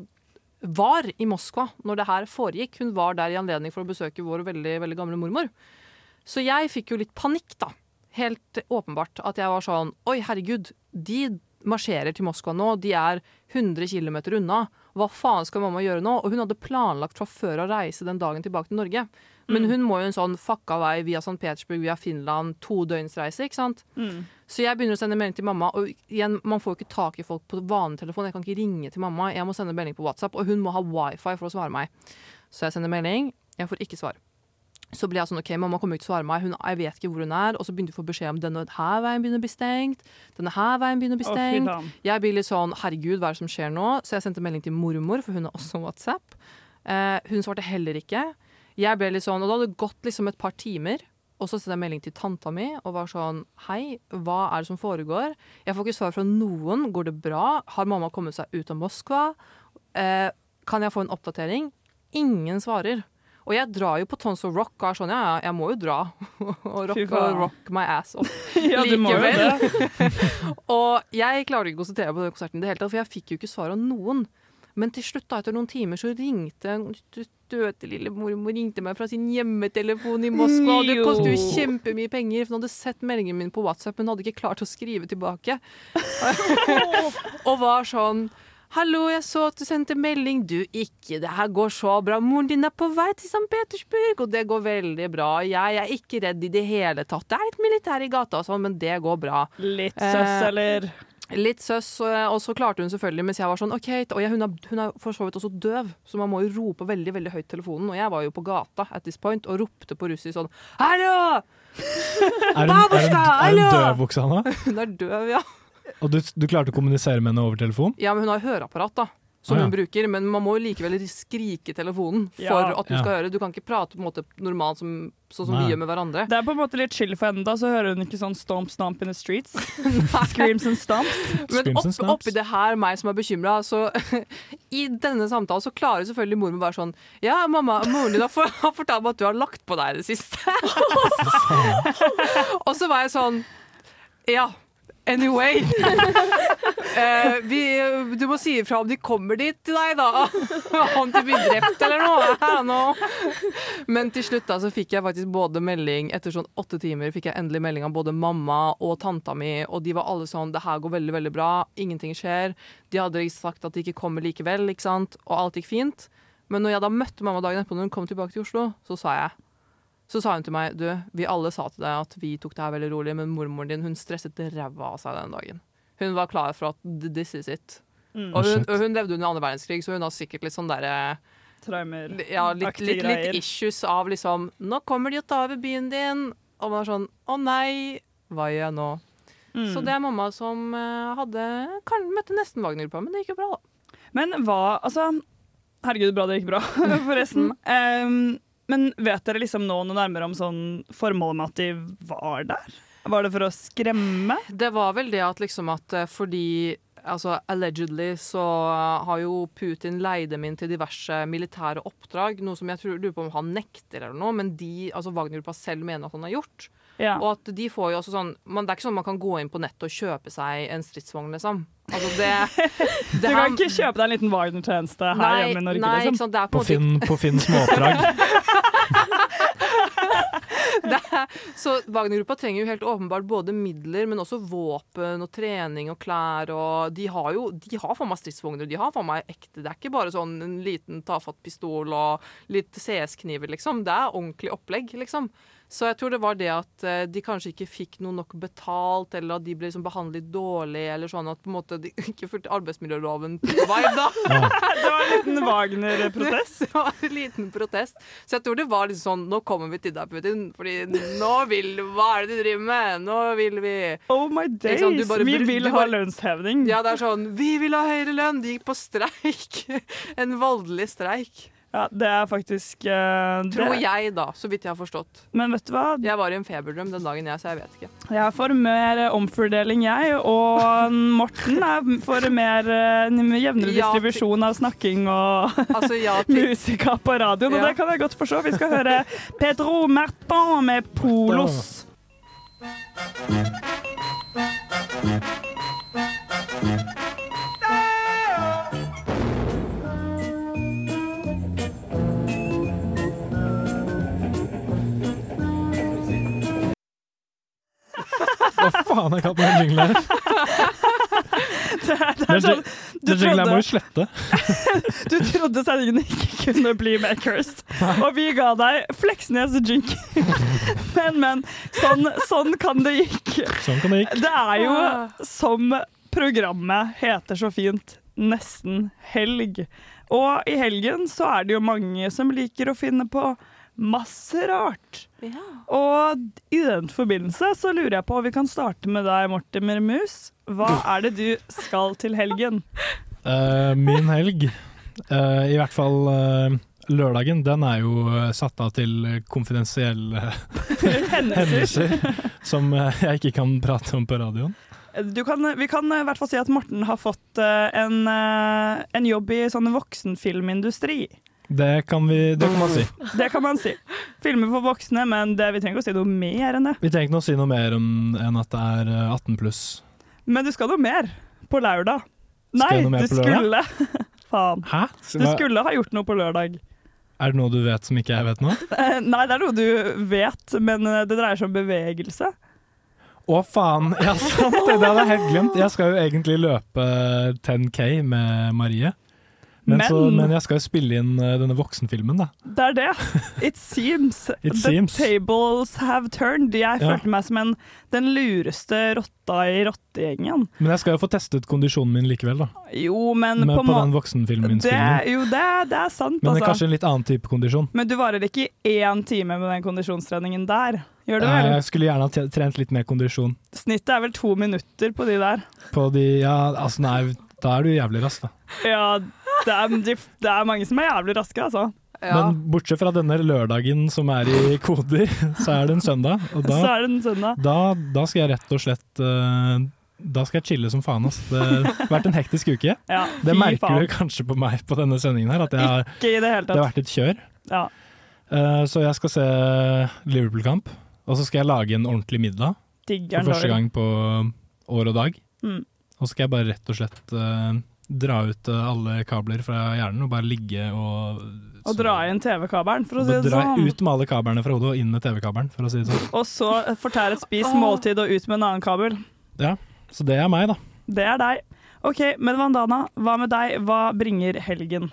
Speaker 3: var i Moskva når det her foregikk, hun var der i anledning for å besøke vår veldig, veldig gamle mormor. Så jeg fikk jo litt panikk, da. Helt åpenbart at jeg var sånn Oi, herregud, de marsjerer til Moskva nå. De er 100 km unna. Hva faen skal mamma gjøre nå? Og hun hadde planlagt fra før å reise den dagen tilbake til Norge. Men
Speaker 6: Mm.
Speaker 3: hun må jo en sånn fucka vei via St. Petersburg, via Finland, to døgnsreise, ikke sant?
Speaker 6: Mm.
Speaker 3: Så jeg begynner å sende melding til mamma, og igjen, man får jo ikke tak i folk på vanlig telefon. Jeg kan ikke ringe til mamma, jeg må sende melding på WhatsApp, og hun må ha wifi for å svare meg. Så jeg sender melding, jeg får ikke svar. Så ble jeg sånn, ok, mamma kommer ikke til å svare meg, hun, jeg vet ikke hvor hun er, og så begynte jeg å få beskjed om denne her veien begynner å bli stengt, denne her veien begynner å bli
Speaker 6: Å, fy
Speaker 3: stengt.
Speaker 6: faen.
Speaker 3: jeg blir litt sånn, herregud, hva er det som skjer nå? Så jeg sendte melding til mormor, for hun har også WhatsApp. Eh, hun svarte heller ikke. Jeg ble litt sånn, og da hadde det gått liksom et par timer, Og så sendte jeg melding til tanta mi og var sånn Hei, hva er det som foregår? Jeg får ikke svar fra noen. Går det bra? Har mamma kommet seg ut av Moskva? Eh, kan jeg få en oppdatering? Ingen svarer. Og jeg drar jo på Tons of Rock og er sånn Ja, ja, jeg må jo dra. og rock,
Speaker 6: Fy faen.
Speaker 3: og rock my ass off.
Speaker 6: Ja, du må jo
Speaker 3: og jeg klarer ikke å konsentrere meg på den konserten i det hele tatt, for jeg fikk jo ikke svar av noen. Men til slutt, da, etter noen timer, så ringte en søte lille mormor ringte meg fra sin hjemmetelefon i Moskva. Og det
Speaker 6: Jo.
Speaker 3: kostet jo kjempemye penger, for hun hadde sett meldingen min på WhatsApp, men hun hadde ikke klart å skrive tilbake. og var sånn Hallo, jeg så at du sendte melding. Du, ikke. Det her går så bra. Moren din er på vei til St. Petersburg, og det går veldig bra. Jeg er ikke redd i det hele tatt. Det er litt militær i gata og sånn, men det går bra.
Speaker 6: Litt søss,
Speaker 3: Eh,
Speaker 6: eller?
Speaker 3: Litt søss, eh, og så klarte hun selvfølgelig mens jeg var sånn OK, og jeg, hun, er, hun er for så vidt også døv, så man må jo rope veldig veldig høyt i telefonen. Og jeg var jo på gata at this point og ropte på russisk sånn Hallo!
Speaker 2: Er hun, er hun, er hun døv, Oksana?
Speaker 3: Hun er døv, ja.
Speaker 2: Og du, du klarte å kommunisere med henne over telefon?
Speaker 3: Ja, men hun har høreapparat, da. Som
Speaker 2: Ah, ja.
Speaker 3: hun bruker, men man må jo likevel skrike i telefonen for
Speaker 6: Ja.
Speaker 3: at du skal
Speaker 2: Ja.
Speaker 3: høre. Du kan ikke prate på en måte normalt som, sånn som
Speaker 6: Nei.
Speaker 3: vi gjør med hverandre.
Speaker 6: Det er på en måte litt chill for henne, da, så hører hun ikke sånn stomp stomp in the streets. Screams and stomps.
Speaker 3: Men opp, oppi det her, meg som er bekymra, så I denne samtalen så klarer selvfølgelig mor min bare sånn Ja, mamma, moren din har, for, har fortalt meg at du har lagt på deg i det siste. og så var jeg sånn Ja. Anyway. Eh, vi, du må si ifra om de kommer dit til deg, da. om de blir drept eller noe. I don't know. Men til slutt da, så fikk jeg faktisk både melding Etter sånn åtte timer fikk jeg endelig melding av både mamma og tanta mi, og de var alle sånn Det her går veldig, veldig bra. Ingenting skjer. De hadde sagt at de ikke kommer likevel, ikke sant. Og alt gikk fint. Men når jeg da møtte mamma dagen etterpå, når hun kom tilbake til Oslo, så sa jeg så sa hun til meg du, vi alle sa til deg at vi tok det her veldig rolig, men mormoren din hun stresset ræva av seg den dagen. Hun var klar for at th- this is it.
Speaker 6: Mm.
Speaker 3: Og, hun,
Speaker 6: Shit.
Speaker 3: og hun levde under andre verdenskrig, så hun har sikkert litt sånn derre
Speaker 6: Traumer.
Speaker 3: ja, litt,
Speaker 6: Aktige
Speaker 3: litt, litt
Speaker 6: greier.
Speaker 3: issues av liksom Nå kommer de og tar over byen din! Og man er sånn Å nei, hva gjør jeg nå?
Speaker 6: Mm.
Speaker 3: Så det er mamma som eh, hadde kan, møtte nesten Wagner-gruppa, men det gikk jo bra, da.
Speaker 6: Men hva Altså, herregud, bra det gikk bra, forresten.
Speaker 3: Mm.
Speaker 6: Em, men vet dere liksom nå noe nærmere om sånn formålet med at de var der? Var det for å skremme?
Speaker 3: Det var vel det at liksom at eh, fordi Altså, Allegedly så eh, har jo Putin leid dem inn til diverse militære oppdrag, noe som jeg tror, lurer på om han nekter eller noe, men de, altså Wagner-gruppa selv mener at han har gjort.
Speaker 6: Ja.
Speaker 3: Og at de får jo også sånn man, Det er ikke sånn man kan gå inn på nettet og kjøpe seg en stridsvogn, liksom. Altså det, det
Speaker 6: du
Speaker 3: her-
Speaker 6: kan ikke kjøpe deg en liten Wagner-tjeneste her
Speaker 3: Nei,
Speaker 6: hjemme i Norge,
Speaker 3: nei, ikke
Speaker 6: liksom?
Speaker 3: sant, det er på
Speaker 2: På
Speaker 3: en måte
Speaker 2: Finn, på Finn småoppdrag?
Speaker 3: Så Wagner-gruppa trenger jo helt åpenbart både midler, men også våpen og trening og klær og De har jo de har faen meg stridsvogner, de har faen meg ekte Det er ikke bare sånn en liten tafatt pistol og litt CS-kniver, liksom. Det er ordentlig opplegg, liksom. Så jeg tror det var det at eh, de kanskje ikke fikk noe nok betalt, eller at de ble liksom behandlet dårlig, eller sånn at på en måte de ikke fulgte arbeidsmiljøloven. Vibe, da!
Speaker 6: Det var en liten Wagner-protest.
Speaker 3: Det var en liten protest. Så jeg tror det var litt sånn Nå kommer vi til deg, Putin. Fordi nå vil Hva er det du driver med? Nå vil vi
Speaker 6: Oh my
Speaker 3: Ikke sant, du
Speaker 6: days!
Speaker 3: bare
Speaker 6: Vi
Speaker 3: bru-
Speaker 6: vil
Speaker 3: du
Speaker 6: ha
Speaker 3: bare-
Speaker 6: lønnshevning.
Speaker 3: Ja, det er sånn Vi vil ha høyere lønn! De gikk på streik. En voldelig streik.
Speaker 6: Ja, det er faktisk eh, det-
Speaker 3: Tror jeg, da. Så vidt jeg har forstått.
Speaker 6: Men vet du hva?
Speaker 3: Jeg var i en feberdrøm den dagen, jeg, så jeg vet ikke.
Speaker 6: Jeg er for mer eh, omfordeling, jeg. Og Morten er for mer eh, en jevnere
Speaker 3: Ja, til-
Speaker 6: distribusjon av snakking og
Speaker 3: Altså, ja til
Speaker 6: musika på radioen. Og
Speaker 3: Ja.
Speaker 6: det kan jeg godt forstå. Vi skal høre Pedro Mertan med Polos.
Speaker 2: Hva faen har jeg kalt den jinglen her?
Speaker 6: Det, er- det
Speaker 2: Den
Speaker 6: er sånn,
Speaker 2: jing-
Speaker 6: du,
Speaker 2: den jinglen her må
Speaker 6: trodde,
Speaker 2: jo slette.
Speaker 6: du trodde sendingen ikke kunne bli mer cursed, og vi ga deg Fleksnes jink. Men, men. Sånn, sånn kan det gikk.
Speaker 2: Sånn kan det gikk.
Speaker 6: Det er jo som programmet heter så fint, nesten helg. Og i helgen så er det jo mange som liker å finne på masse rart. Og i den forbindelse så lurer jeg på, vi kan starte med deg, Morten Mermus. Hva er det du skal til helgen?
Speaker 2: Eh, min helg, eh, i hvert fall eh, lørdagen den er jo eh, satt av til eh, konfidensielle
Speaker 6: Hendelser.
Speaker 2: hendelser som eh, jeg ikke kan prate om på radioen.
Speaker 6: Du kan, vi kan i hvert fall si at Morten har fått eh, en, eh, en jobb i sånn voksenfilmindustri.
Speaker 2: Det kan, vi, det kan man si.
Speaker 6: Det kan man si. Filmer for voksne, men det, vi trenger ikke å si noe mer enn det.
Speaker 2: Vi trenger ikke å si noe mer om, enn at det er eh, 18 pluss.
Speaker 6: Men du skal noe mer på lørdag. Nei,
Speaker 2: Skal jeg noe mer
Speaker 6: du
Speaker 2: på
Speaker 6: skulle
Speaker 2: lørdag?
Speaker 6: Faen.
Speaker 2: Hæ?
Speaker 6: Du skulle ha gjort noe på lørdag.
Speaker 2: Er det noe du vet som ikke jeg vet nå?
Speaker 6: Eh, Nei, det er noe du vet, men eh, det dreier seg om bevegelse.
Speaker 2: Å faen, ja sant, det hadde jeg helt glemt. Jeg skal jo egentlig løpe 10K med Marie. Men,
Speaker 6: Men-
Speaker 2: så, men jeg skal jo spille inn eh, denne voksenfilmen, da.
Speaker 6: Det er det. It seems.
Speaker 2: It
Speaker 6: The
Speaker 2: seems.
Speaker 6: tables have turned. Jeg
Speaker 2: Ja.
Speaker 6: følte meg som en, den lureste rotta i rottegjengen.
Speaker 2: Men jeg skal jo få testet kondisjonen min likevel, da.
Speaker 6: Jo, men
Speaker 2: Med, på
Speaker 6: på,
Speaker 2: den
Speaker 6: må- det, er-
Speaker 2: voksenfilminnspillingen.
Speaker 6: jo, det, er- det er
Speaker 2: Men
Speaker 6: sant,
Speaker 2: det er
Speaker 6: altså.
Speaker 2: kanskje en litt annen type kondisjon.
Speaker 6: Men du varer ikke i én time med den kondisjonstreningen der. Gjør du
Speaker 2: Eh,
Speaker 6: vel?
Speaker 2: Jeg skulle gjerne ha t- trent litt mer kondisjon.
Speaker 6: Snittet er vel to minutter på de der.
Speaker 2: På de Ja, altså nei, da er du jævlig rask, da.
Speaker 6: Ja, det er, de, det er mange som er jævlig raske, altså.
Speaker 2: Men bortsett fra denne lørdagen som er i koder, så er det en søndag. Og da,
Speaker 6: Så er det en søndag.
Speaker 2: Da, da skal jeg rett og slett eh, Da skal jeg chille som faen. Ass. Det har vært en hektisk uke.
Speaker 6: Ja,
Speaker 2: det
Speaker 6: fy
Speaker 2: merker
Speaker 6: faen.
Speaker 2: du kanskje på meg på denne sendingen her, at jeg har,
Speaker 6: Ikke i det hele
Speaker 2: det har
Speaker 6: tatt.
Speaker 2: vært et kjør.
Speaker 6: Ja.
Speaker 2: Eh, så jeg skal se Liverpool-kamp, og så skal jeg lage en ordentlig middag.
Speaker 6: Digger
Speaker 2: For første gang på år og dag.
Speaker 6: Mm.
Speaker 2: Og så skal jeg bare rett og slett eh, dra ut eh, alle kabler fra hjernen og bare ligge og
Speaker 6: Å dra inn TV-kabelen, for å
Speaker 2: og
Speaker 6: si det
Speaker 2: dra
Speaker 6: sånn.
Speaker 2: ut med alle kablene fra hodet og inn med TV-kabelen, for å si det sånn.
Speaker 6: Og så fortære et spist måltid og ut med en annen kabel.
Speaker 2: Ja, Så det er meg, da.
Speaker 6: Det er deg. OK, men Vandana, hva med deg? Hva bringer helgen?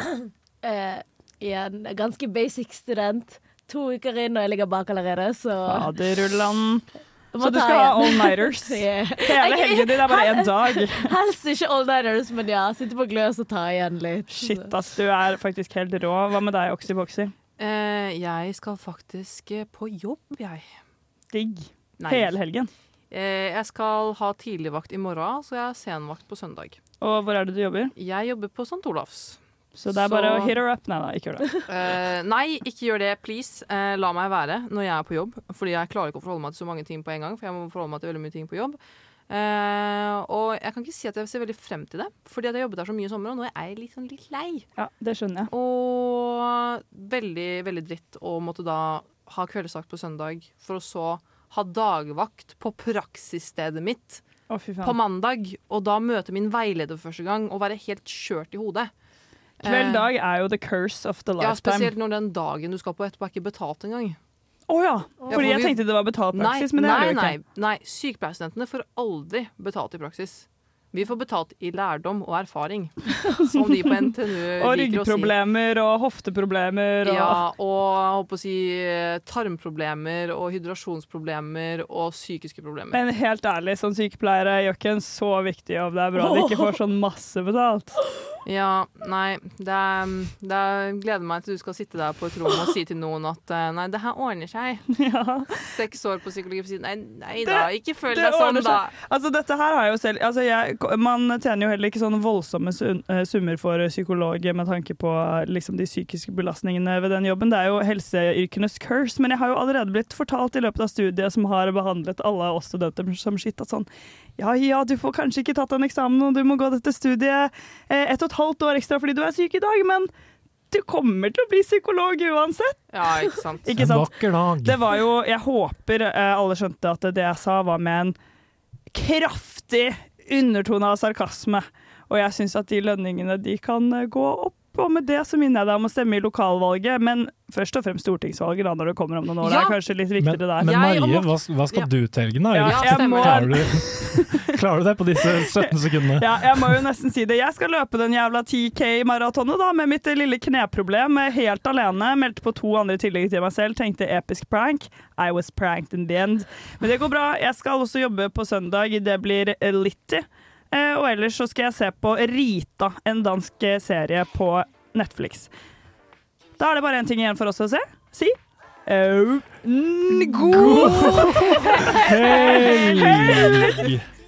Speaker 7: Eh, igjen, ganske basic student. To uker inn, og jeg ligger bak allerede, så
Speaker 6: Faderullan.
Speaker 7: Jeg må
Speaker 6: Så du
Speaker 7: ta
Speaker 6: skal ha
Speaker 7: igjen.
Speaker 6: all-nighters?
Speaker 7: Ja.
Speaker 6: Hele helgen din er bare én dag.
Speaker 7: Helst ikke all-nighters, men ja. Sitte på gløs og ta igjen litt.
Speaker 6: Shit, ass, du er faktisk helt rå. Hva med deg, Oxyboxy?
Speaker 3: Eh, jeg skal faktisk eh, på jobb, jeg.
Speaker 6: Digg.
Speaker 3: Nei.
Speaker 6: Hele helgen.
Speaker 3: Eh, jeg skal ha tidligvakt i morgen, så jeg har senvakt på søndag.
Speaker 6: Og hvor er det du jobber?
Speaker 3: Jeg jobber på St. Olavs.
Speaker 6: Så det er bare å hit her up. Nei da, ikke gjør det.
Speaker 3: Eh, nei, ikke gjør det, please. Eh, la meg være når jeg er på jobb. Fordi jeg klarer ikke å forholde meg til så mange ting på en gang. For jeg må forholde meg til veldig mye ting på jobb. Eh, og jeg kan ikke si at jeg ser veldig frem til det, fordi at jeg jobbet der så mye i sommer, og nå er jeg litt, sånn litt lei.
Speaker 6: Ja, det skjønner jeg.
Speaker 3: Og veldig, veldig dritt å måtte da ha kveldsvakt på søndag, for å så ha dagvakt på praksisstedet mitt
Speaker 6: Å, fy faen.
Speaker 3: på mandag, og da møte min veileder for første gang og være helt kjørt i hodet.
Speaker 6: Kveld
Speaker 3: Eh,
Speaker 6: dag er jo the curse of the
Speaker 3: ja,
Speaker 6: lifetime.
Speaker 3: spesielt når den dagen du skal på etterpå er ikke betalt engang.
Speaker 6: Å ja.
Speaker 3: Ja,
Speaker 6: Fordi
Speaker 3: for
Speaker 6: jeg
Speaker 3: vi-
Speaker 6: tenkte det var betalt praksis, men det
Speaker 3: nei,
Speaker 6: er det jo
Speaker 3: nei,
Speaker 6: ikke.
Speaker 3: nei, sykepleierstudentene får aldri betalt i praksis. Vi får betalt i lærdom og erfaring, som de på NTNU liker å
Speaker 6: Og
Speaker 3: si.
Speaker 6: ryggproblemer og hofteproblemer og
Speaker 3: Ja, og jeg håper å si eh, tarmproblemer og hydrasjonsproblemer og psykiske problemer.
Speaker 6: Men helt ærlig, som sykepleiere gjør ikke en så viktig jobb. Det er bra de ikke får sånn masse betalt.
Speaker 3: Ja, nei, det er, det er gleder meg til du skal sitte der på et rom og si til noen at eh, nei, det her ordner seg. Seks år på psykologi for siden. Nei, nei da, ikke føl
Speaker 6: det
Speaker 3: deg sånn,
Speaker 6: ordner
Speaker 3: da.
Speaker 6: seg. Altså, dette her har jeg jo selv altså, jeg, Man tjener jo heller ikke sånne voldsomme sun- eh, summer for psykolog med tanke på eh, liksom, de psykiske belastningene ved den jobben. Det er jo helseyrkenes curse, men jeg har jo allerede blitt fortalt i løpet av studiet som har behandlet alle oss studenter som skitt, at sånn ja, ja, du får kanskje ikke tatt en eksamen, og du må gå dette studiet eh, ett og et halvt år ekstra fordi du er syk i dag, men du kommer til å bli psykolog uansett.
Speaker 3: Ja, ikke sant.
Speaker 6: Ikke sant? Det var jo, jeg håper eh, alle skjønte at det jeg sa var med en kraftig undertone av sarkasme. Og jeg syns at de lønningene de kan eh, gå opp. Og med det så minner jeg deg om å stemme i lokalvalget, men først og fremst stortingsvalget da, når det kommer om noen år. Det
Speaker 3: Ja.
Speaker 6: er kanskje litt viktigere der.
Speaker 2: Men Marie, hva, hva skal
Speaker 6: Ja.
Speaker 2: du til helgen, da?
Speaker 6: Ja,
Speaker 2: Eller
Speaker 6: jeg må-
Speaker 2: klarer, du, klarer du det på disse 17 sekundene?
Speaker 6: Ja, jeg må jo nesten si det. Jeg skal løpe den jævla 10K-maratonet da, med mitt lille kneproblem eh, helt alene. Meldte på to andre i tillegg til meg selv. Tenkte episk prank. I was pranked in the end. Men det går bra. Jeg skal også jobbe på søndag. Det blir eh, litty. Eh, Og ellers så skal jeg se på Rita, en dansk eh, serie på Netflix. Da er det bare én ting igjen for oss å se. Si. Au, n- God
Speaker 2: Helg!